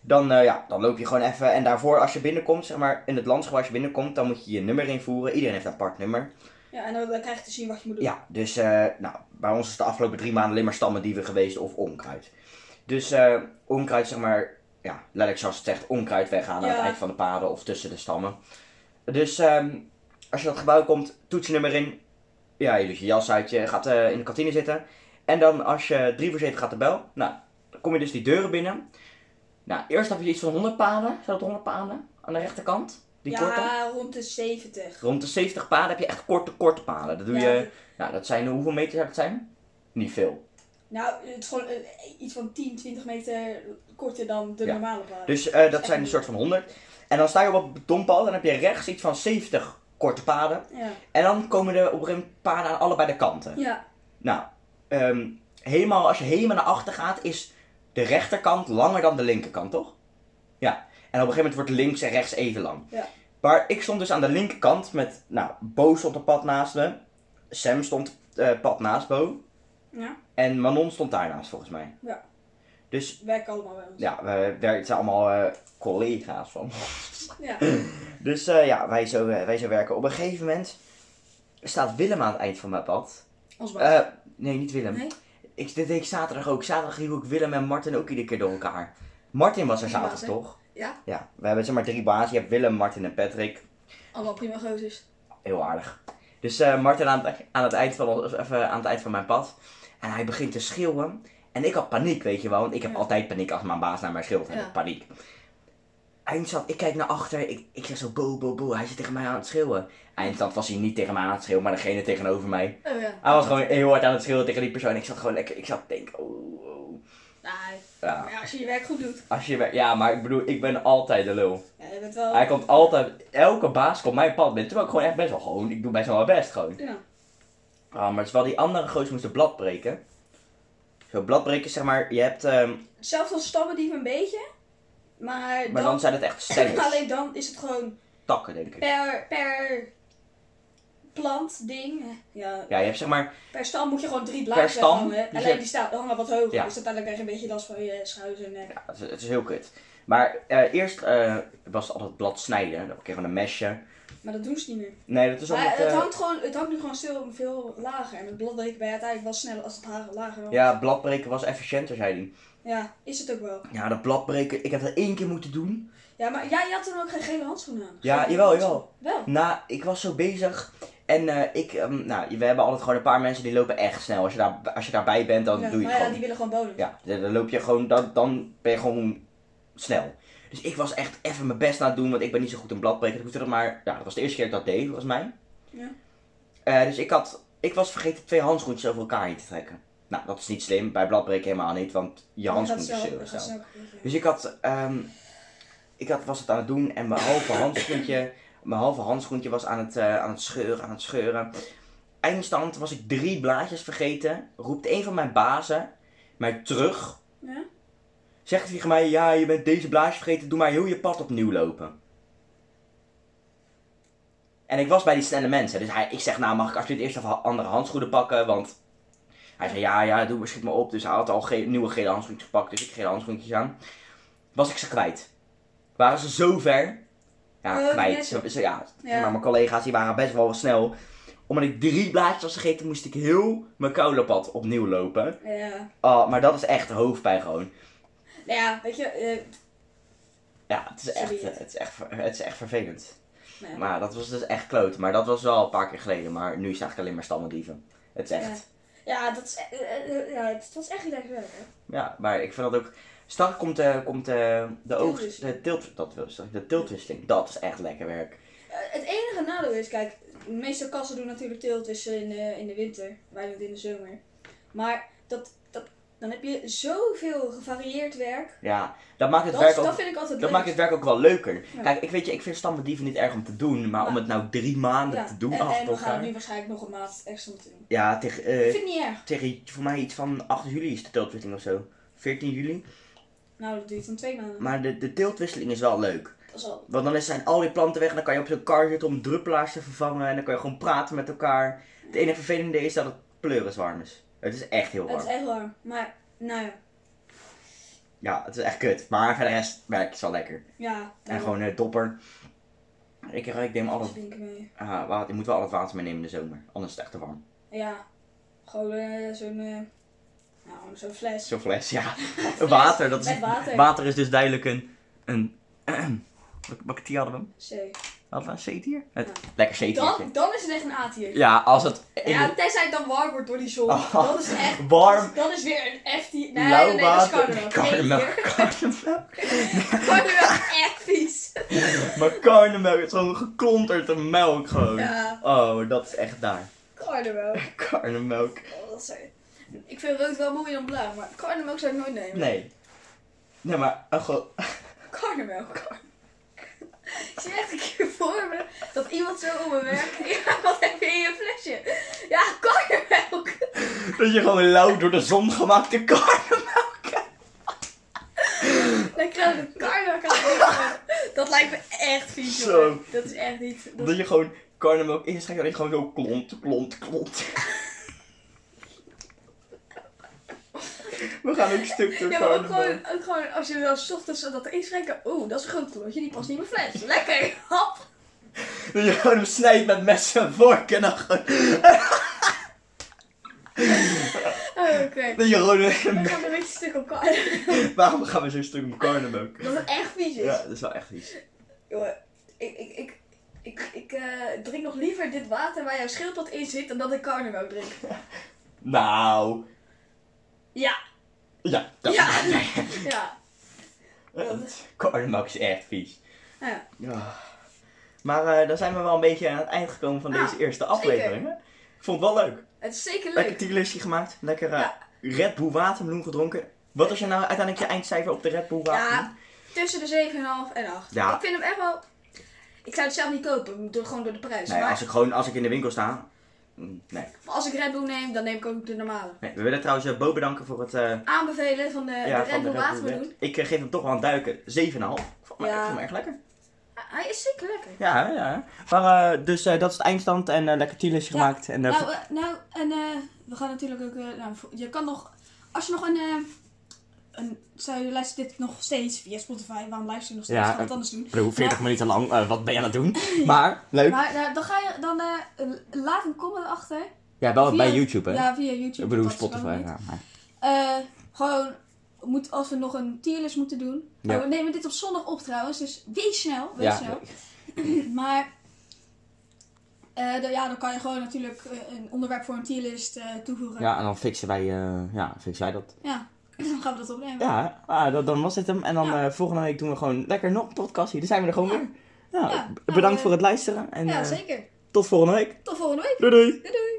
[SPEAKER 1] Dan, eh, ja, dan loop je gewoon even. En daarvoor, als je binnenkomt, zeg maar, in het landschap als je binnenkomt, dan moet je je nummer invoeren. Iedereen heeft een apart nummer.
[SPEAKER 2] Ja, en dan, dan krijg je te zien wat je moet doen.
[SPEAKER 1] Ja, dus eh, nou, bij ons is de afgelopen drie maanden alleen maar stammendieven geweest of onkruid. Dus eh, onkruid, zeg maar, ja, letterlijk zoals het zegt, onkruid weghalen aan
[SPEAKER 2] Ja.
[SPEAKER 1] het eind van de paden of tussen de stammen. Dus ehm, als je dat gebouw komt, toets je nummer in. Ja, je doet je jas uit, je gaat eh, in de kantine zitten. En dan als je drie voor zeven gaat de bel, nou, dan kom je dus die deuren binnen. Nou, eerst heb je iets van 100 paden, zijn dat 100 paden aan de rechterkant? Die
[SPEAKER 2] Ja,
[SPEAKER 1] korte?
[SPEAKER 2] rond de 70.
[SPEAKER 1] Rond de 70 paden heb je echt korte, korte paden. Dat doe
[SPEAKER 2] Ja,
[SPEAKER 1] je...
[SPEAKER 2] die-
[SPEAKER 1] Nou, dat zijn, hoeveel meter zou dat zijn? Niet veel.
[SPEAKER 2] Nou, het is gewoon eh, iets van 10, 20 meter korter dan de
[SPEAKER 1] Ja.
[SPEAKER 2] normale paden.
[SPEAKER 1] Dus eh, dat zijn een soort van 100. En dan sta je op het betonpad en dan heb je rechts iets van 70 korte paden.
[SPEAKER 2] Ja.
[SPEAKER 1] En dan komen er op een gegeven moment paden aan allebei de kanten.
[SPEAKER 2] ja.
[SPEAKER 1] Nou, ehm, helemaal, als je helemaal naar achter gaat, is de rechterkant langer dan de linkerkant, toch? Ja. En op een gegeven moment wordt links en rechts even lang.
[SPEAKER 2] Ja.
[SPEAKER 1] Maar ik stond dus aan de linkerkant met, nou, Bo stond op pad naast me. Sam stond eh pad naast Bo.
[SPEAKER 2] Ja.
[SPEAKER 1] En Manon stond daarnaast, volgens mij.
[SPEAKER 2] Ja.
[SPEAKER 1] Dus
[SPEAKER 2] Werken allemaal bij ons.
[SPEAKER 1] Ja, we, daar zijn allemaal eh, collega's van.
[SPEAKER 2] Ja.
[SPEAKER 1] Dus eh, ja, wij zo, eh, wij zo werken. Op een gegeven moment staat Willem aan het eind van mijn pad.
[SPEAKER 2] Ons baas.
[SPEAKER 1] Eh, nee, niet Willem.
[SPEAKER 2] Nee?
[SPEAKER 1] Ik, dit deed ik zaterdag ook. Zaterdag hielp ik Willem en Martin ook iedere keer door elkaar. Martin was er
[SPEAKER 2] Drie
[SPEAKER 1] zaterdag,
[SPEAKER 2] bazen.
[SPEAKER 1] toch?
[SPEAKER 2] Ja.
[SPEAKER 1] Ja, we hebben zeg maar drie baas. Je hebt Willem, Martin en Patrick.
[SPEAKER 2] Allemaal prima gozers.
[SPEAKER 1] Heel aardig. Dus eh, Martin aan het, aan, het eind van, ons- even aan het eind van mijn pad. En hij begint te schreeuwen. En ik had paniek, weet je wel. Want ik heb
[SPEAKER 2] Ja.
[SPEAKER 1] altijd paniek als mijn baas naar mij schreeuwt. heb
[SPEAKER 2] Ja.
[SPEAKER 1] ik Paniek. Eindstand, ik kijk naar achter. Ik, ik zeg zo bo, bo, bo. Hij zit tegen mij aan het schreeuwen. Eindstand was hij niet tegen mij aan het schreeuwen, maar degene tegenover mij.
[SPEAKER 2] Oh ja.
[SPEAKER 1] Hij was gewoon heel hard aan het schreeuwen tegen die persoon. Ik zat gewoon lekker, ik zat te denken, oh, oh.
[SPEAKER 2] Nou,
[SPEAKER 1] Ja,
[SPEAKER 2] maar ja, als je je werk goed doet.
[SPEAKER 1] als je, wer- ja, maar ik bedoel, ik ben altijd de lul.
[SPEAKER 2] Ja, je bent wel...
[SPEAKER 1] Hij komt altijd, elke baas komt mijn pad binnen. Terwijl ik gewoon echt best wel gewoon, ik doe best wel mijn best gewoon.
[SPEAKER 2] Ja.
[SPEAKER 1] Ah, maar het is wel die andere goos moest het blad breken. Zo, bladbreken, zeg maar, je hebt, ehm,
[SPEAKER 2] Zelfs als stammendief een beetje. Maar,
[SPEAKER 1] maar dan zijn het echt stengels.
[SPEAKER 2] alleen dan is het gewoon
[SPEAKER 1] Takken, denk ik.
[SPEAKER 2] per, per plant ding. Ja,
[SPEAKER 1] Ja, je hebt zeg maar,
[SPEAKER 2] Per stam moet je gewoon drie blaadjes
[SPEAKER 1] stam,
[SPEAKER 2] hangen.
[SPEAKER 1] dus
[SPEAKER 2] Alleen
[SPEAKER 1] je-
[SPEAKER 2] die staan hangen wat hoger.
[SPEAKER 1] Ja.
[SPEAKER 2] Dus uiteindelijk krijg je een beetje last van je schouders en eh, nek.
[SPEAKER 1] ja, het, is, het is heel kut. Maar eh, eerst eh, was het altijd blad snijden, dan kreeg je gewoon een mesje.
[SPEAKER 2] Maar dat doen ze niet meer.
[SPEAKER 1] Nee, dat is
[SPEAKER 2] Maar
[SPEAKER 1] omdat...
[SPEAKER 2] het,
[SPEAKER 1] eh,
[SPEAKER 2] hangt gewoon, het hangt nu gewoon veel, veel lager. En met bladdeken ben je uiteindelijk wel sneller als het haar lager hangt.
[SPEAKER 1] ja, bladbreken was efficiënter, zei hij.
[SPEAKER 2] Ja, is het ook wel.
[SPEAKER 1] Ja, dat bladbreken, ik heb dat één keer moeten doen.
[SPEAKER 2] Ja, maar jij had toen ook geen gele handschoenen aan.
[SPEAKER 1] Ja,
[SPEAKER 2] Geen
[SPEAKER 1] jawel,
[SPEAKER 2] handschoenen. Wel.
[SPEAKER 1] Nou, ik was zo bezig. En eh, ik, ehm, nou, we hebben altijd gewoon een paar mensen die lopen echt snel. Als je, daar, als je daarbij bent, dan
[SPEAKER 2] Ja,
[SPEAKER 1] doe je het
[SPEAKER 2] maar ja,
[SPEAKER 1] gewoon.
[SPEAKER 2] die willen gewoon bodem.
[SPEAKER 1] Ja, dan dan loop je gewoon, dan, dan ben je gewoon snel. Dus ik was echt even mijn best aan het doen, want ik ben niet zo goed in bladbreken. Ik moest dat maar, ja, dat was de eerste keer dat ik dat deed, volgens mij.
[SPEAKER 2] Ja.
[SPEAKER 1] Eh, dus ik had, ik was vergeten twee handschoentjes over elkaar heen te trekken. Nou, dat is niet slim, bij bladbreken helemaal niet, want je handschoentjes
[SPEAKER 2] Dat gaat
[SPEAKER 1] zullen
[SPEAKER 2] snel, dat gaat
[SPEAKER 1] snel.
[SPEAKER 2] snel gebeuren.
[SPEAKER 1] Dus ik had, ehm, ik had, was het aan het doen en mijn halve handschoentje, mijn halve handschoentje was aan het, eh, aan het scheuren, aan het scheuren. Eindstand was ik drie blaadjes vergeten, roept een van mijn bazen mij terug,
[SPEAKER 2] Ja?
[SPEAKER 1] zegt tegen mij, ja je bent deze blaadjes vergeten, doe maar heel je pad opnieuw lopen. En ik was bij die snelle mensen, dus hij, ik zeg, nou mag ik alsjeblieft eerst even andere handschoenen pakken, want... Hij zei, ja, ja, doe maar, schiet me op. Dus hij had al ge- nieuwe gele handschoentjes gepakt, dus ik gele handschoentjes aan was ik ze kwijt. Waren ze zo ver? Ja,
[SPEAKER 2] Oh,
[SPEAKER 1] kwijt.
[SPEAKER 2] net.
[SPEAKER 1] Ze- ze- ja,
[SPEAKER 2] Ja.
[SPEAKER 1] Maar mijn collega's die waren best wel snel. Omdat ik drie blaadjes was gegeten, moest ik heel mijn koulepad opnieuw lopen.
[SPEAKER 2] Ja.
[SPEAKER 1] Ah, maar dat is echt hoofdpijn gewoon.
[SPEAKER 2] Nou ja, weet je. eh,
[SPEAKER 1] Ja, het is, echt,
[SPEAKER 2] Sorry.
[SPEAKER 1] eh, het, is echt, ver- het is echt vervelend.
[SPEAKER 2] nou ja.
[SPEAKER 1] Maar ja, dat was dus echt kloot. Maar dat was wel een paar keer geleden. Maar nu is het eigenlijk alleen maar stammendieven. Het is echt...
[SPEAKER 2] Ja, dat is, eh, eh, eh, ja, het was echt niet lekker werk, hè?
[SPEAKER 1] Ja, maar ik vind dat ook... Straks komt, eh, komt eh, de oogst...
[SPEAKER 2] Tiltwisseling.
[SPEAKER 1] De, tilt, dat wil, zeggen, de tiltwisseling. Dat is echt lekker werk.
[SPEAKER 2] Eh, Het enige nadeel is, kijk, de meeste kassen doen natuurlijk teeltwisselen in de, in de winter, wij doen het in de zomer. Maar dat, dat, dan heb je zoveel gevarieerd werk.
[SPEAKER 1] Ja, dat maakt het
[SPEAKER 2] Dat,
[SPEAKER 1] werk ook
[SPEAKER 2] dat vind ik altijd
[SPEAKER 1] Dat
[SPEAKER 2] leuk.
[SPEAKER 1] maakt het werk ook wel leuker.
[SPEAKER 2] Ja.
[SPEAKER 1] Kijk, ik weet je, ik vind stammendieven niet erg om te doen, maar
[SPEAKER 2] Ja.
[SPEAKER 1] om het nou drie maanden
[SPEAKER 2] Ja,
[SPEAKER 1] te doen
[SPEAKER 2] en,
[SPEAKER 1] achter
[SPEAKER 2] en we gaan
[SPEAKER 1] elkaar.
[SPEAKER 2] het nu waarschijnlijk nog een maand extra moeten doen.
[SPEAKER 1] Ja, tegen,
[SPEAKER 2] Ik
[SPEAKER 1] eh,
[SPEAKER 2] vind het niet erg.
[SPEAKER 1] tegen voor mij iets van 8 juli is de tiltwisseling of zo. 14 juli.
[SPEAKER 2] Nou, dat duurt dan twee maanden.
[SPEAKER 1] Maar de, de tiltwisseling is wel leuk.
[SPEAKER 2] Dat is al.
[SPEAKER 1] Want dan is- zijn al die planten weg en dan kan je op zo'n kar zitten om druppelaars te vervangen. En dan kan je gewoon praten met elkaar. Het enige vervelende is dat het pleuris warm is. Het is echt heel
[SPEAKER 2] Het is
[SPEAKER 1] warm.
[SPEAKER 2] echt warm. Maar, nou ja.
[SPEAKER 1] Ja, het is echt kut. Maar voor de rest werkt het wel lekker.
[SPEAKER 2] Ja.
[SPEAKER 1] En gewoon eh, dopper. Ik, eh, ik neem al
[SPEAKER 2] Alles
[SPEAKER 1] het...
[SPEAKER 2] drinken mee.
[SPEAKER 1] ah, wa- je moet wel al het water meenemen in de zomer. Anders is het echt te warm.
[SPEAKER 2] Ja. Gewoon eh, zo'n, eh, nou, zo'n fles.
[SPEAKER 1] Zo'n fles, ja. Water, dat is,
[SPEAKER 2] Met water.
[SPEAKER 1] water is dus duidelijk een... een wat- welke tier hadden we hem?
[SPEAKER 2] C.
[SPEAKER 1] Hadden we een C-tier? Het-
[SPEAKER 2] Ja.
[SPEAKER 1] Lekker C-tiertje.
[SPEAKER 2] Dan, dan is het echt een A-tier.
[SPEAKER 1] Ja, als het...
[SPEAKER 2] Ja, tenzij het dan warm wordt door die zon.
[SPEAKER 1] Oh,
[SPEAKER 2] dat is echt.
[SPEAKER 1] warm.
[SPEAKER 2] Dat is weer een F die. Nee,
[SPEAKER 1] Lauw
[SPEAKER 2] nee, dat is
[SPEAKER 1] water.
[SPEAKER 2] karnemelk.
[SPEAKER 1] Karnemelk.
[SPEAKER 2] Nee,
[SPEAKER 1] Karnemelk.
[SPEAKER 2] Karnemelk, echt vies.
[SPEAKER 1] Maar karnemelk is gewoon geklonterde melk gewoon.
[SPEAKER 2] Ja,
[SPEAKER 1] Oh, dat is echt daar.
[SPEAKER 2] karnemelk.
[SPEAKER 1] Karnemelk.
[SPEAKER 2] Oh, dat is- Ik vind rood wel mooier dan blauw, maar karnemelk zou ik nooit nemen.
[SPEAKER 1] Nee. Nee, maar... Oh, go-
[SPEAKER 2] Karnemelk. Ik zie echt een keer voor me dat iemand zo om me werkt. Ja, wat heb je in je flesje? Ja, karnemelk.
[SPEAKER 1] dat je gewoon lauw door de zon gemaakte karnemelk hebt.
[SPEAKER 2] Dan krijg ik een karnemelk aan het eten. Dat lijkt me echt vies,
[SPEAKER 1] Zo.
[SPEAKER 2] hoor. Dat is echt niet... Dat
[SPEAKER 1] Dat je gewoon karnemelk inschrijft en dat je gewoon zo klont, klont, klont. We gaan ook stuk door
[SPEAKER 2] Ja, maar ook
[SPEAKER 1] karnemelk.
[SPEAKER 2] gewoon, ook gewoon als je dan 's ochtends dat erin schenken. Oeh, dat is een groot klontje, die past niet in mijn fles. Lekker, hap.
[SPEAKER 1] Dat je gewoon hem snijdt met mes en vork en dan gewoon...
[SPEAKER 2] Oh, Oké.
[SPEAKER 1] Dat je gewoon...
[SPEAKER 2] We gaan een beetje stuk op elkaar.
[SPEAKER 1] Waarom gaan we zo stuk om karnemelk?
[SPEAKER 2] Dat is echt vies. is.
[SPEAKER 1] Ja, dat is wel echt iets.
[SPEAKER 2] Jongen, ik, ik, ik, ik, ik eh, drink nog liever dit water waar jouw schildpad in zit dan dat ik karnemelk drink.
[SPEAKER 1] Nou...
[SPEAKER 2] Ja,
[SPEAKER 1] Ja, dat
[SPEAKER 2] Ja. ja.
[SPEAKER 1] Karnemelk is echt vies.
[SPEAKER 2] Nou ja.
[SPEAKER 1] Ja. Maar eh, dan zijn we wel een beetje aan het eind gekomen van
[SPEAKER 2] Ah,
[SPEAKER 1] deze eerste
[SPEAKER 2] zeker.
[SPEAKER 1] aflevering. hè? Ik vond het wel leuk.
[SPEAKER 2] Het is zeker
[SPEAKER 1] Lekker
[SPEAKER 2] leuk.
[SPEAKER 1] tierlistje gemaakt. Lekker eh,
[SPEAKER 2] Ja.
[SPEAKER 1] Red Bull waterbloem gedronken. Wat is je nou uiteindelijk je eindcijfer op de Red Bull waterbloem?
[SPEAKER 2] Ja, tussen de 7,5 en 8.
[SPEAKER 1] Ja.
[SPEAKER 2] Ik vind hem echt wel... Ik zou het zelf niet kopen, door, gewoon door de prijs.
[SPEAKER 1] nee,
[SPEAKER 2] maar
[SPEAKER 1] als ik gewoon als ik in de winkel sta, Mm, Nee.
[SPEAKER 2] Maar als ik Red Bull neem, dan neem ik ook de normale.
[SPEAKER 1] nee. We willen trouwens eh, Bo bedanken voor het... eh,
[SPEAKER 2] Aanbevelen van de,
[SPEAKER 1] ja,
[SPEAKER 2] de Red Bull
[SPEAKER 1] Red.
[SPEAKER 2] watermeloen.
[SPEAKER 1] Ik eh, geef hem toch wel een duiken. 7,5. Ik vond hem-
[SPEAKER 2] Ja.
[SPEAKER 1] ik vond hem erg lekker.
[SPEAKER 2] Hij is zeker lekker.
[SPEAKER 1] Ja, ja. Maar eh, dus eh, dat is het eindstand en eh, lekker tielesje
[SPEAKER 2] Ja.
[SPEAKER 1] gemaakt. En, eh,
[SPEAKER 2] Nou, eh, nou, en eh, we gaan natuurlijk ook. eh, nou, vo- je kan nog. Als je nog een. eh een zou je luistert dit nog steeds via Spotify? Waarom luister je nog steeds?
[SPEAKER 1] Ja,
[SPEAKER 2] Ja, ga
[SPEAKER 1] eh,
[SPEAKER 2] het anders doen.
[SPEAKER 1] Bro, 40 minuten lang, eh, wat ben je aan het doen? Maar, leuk.
[SPEAKER 2] Maar eh, dan ga je. Dan eh, eh, laat een comment achter.
[SPEAKER 1] ja, wel
[SPEAKER 2] via-
[SPEAKER 1] Oh, bij YouTube, hè?
[SPEAKER 2] Ja, via YouTube.
[SPEAKER 1] ik bedoel,
[SPEAKER 2] dat is wel
[SPEAKER 1] Spotify.
[SPEAKER 2] goed.
[SPEAKER 1] Ja, maar-
[SPEAKER 2] Eh, gewoon. Moet, als we nog een tierlist moeten doen.
[SPEAKER 1] Ja.
[SPEAKER 2] Nou, we nemen dit op zondag op trouwens, dus wees snel. Wees
[SPEAKER 1] ja.
[SPEAKER 2] snel. Maar eh, dan, ja, dan kan je gewoon natuurlijk eh, een onderwerp voor een tierlist eh, toevoegen.
[SPEAKER 1] ja, en dan fixen wij, eh, ja, fixen wij dat.
[SPEAKER 2] Ja. dan gaan we dat opnemen.
[SPEAKER 1] Ja, ah, dat, dan was dit hem. En dan
[SPEAKER 2] Ja.
[SPEAKER 1] eh, volgende week doen we gewoon lekker nog een podcast hier. Dan zijn we er gewoon weer. Ja,
[SPEAKER 2] Ja, nou,
[SPEAKER 1] bedankt
[SPEAKER 2] eh,
[SPEAKER 1] voor het luisteren en
[SPEAKER 2] ja,
[SPEAKER 1] eh,
[SPEAKER 2] zeker.
[SPEAKER 1] tot volgende week.
[SPEAKER 2] Tot volgende week.
[SPEAKER 1] Doei doei!
[SPEAKER 2] Doei doei.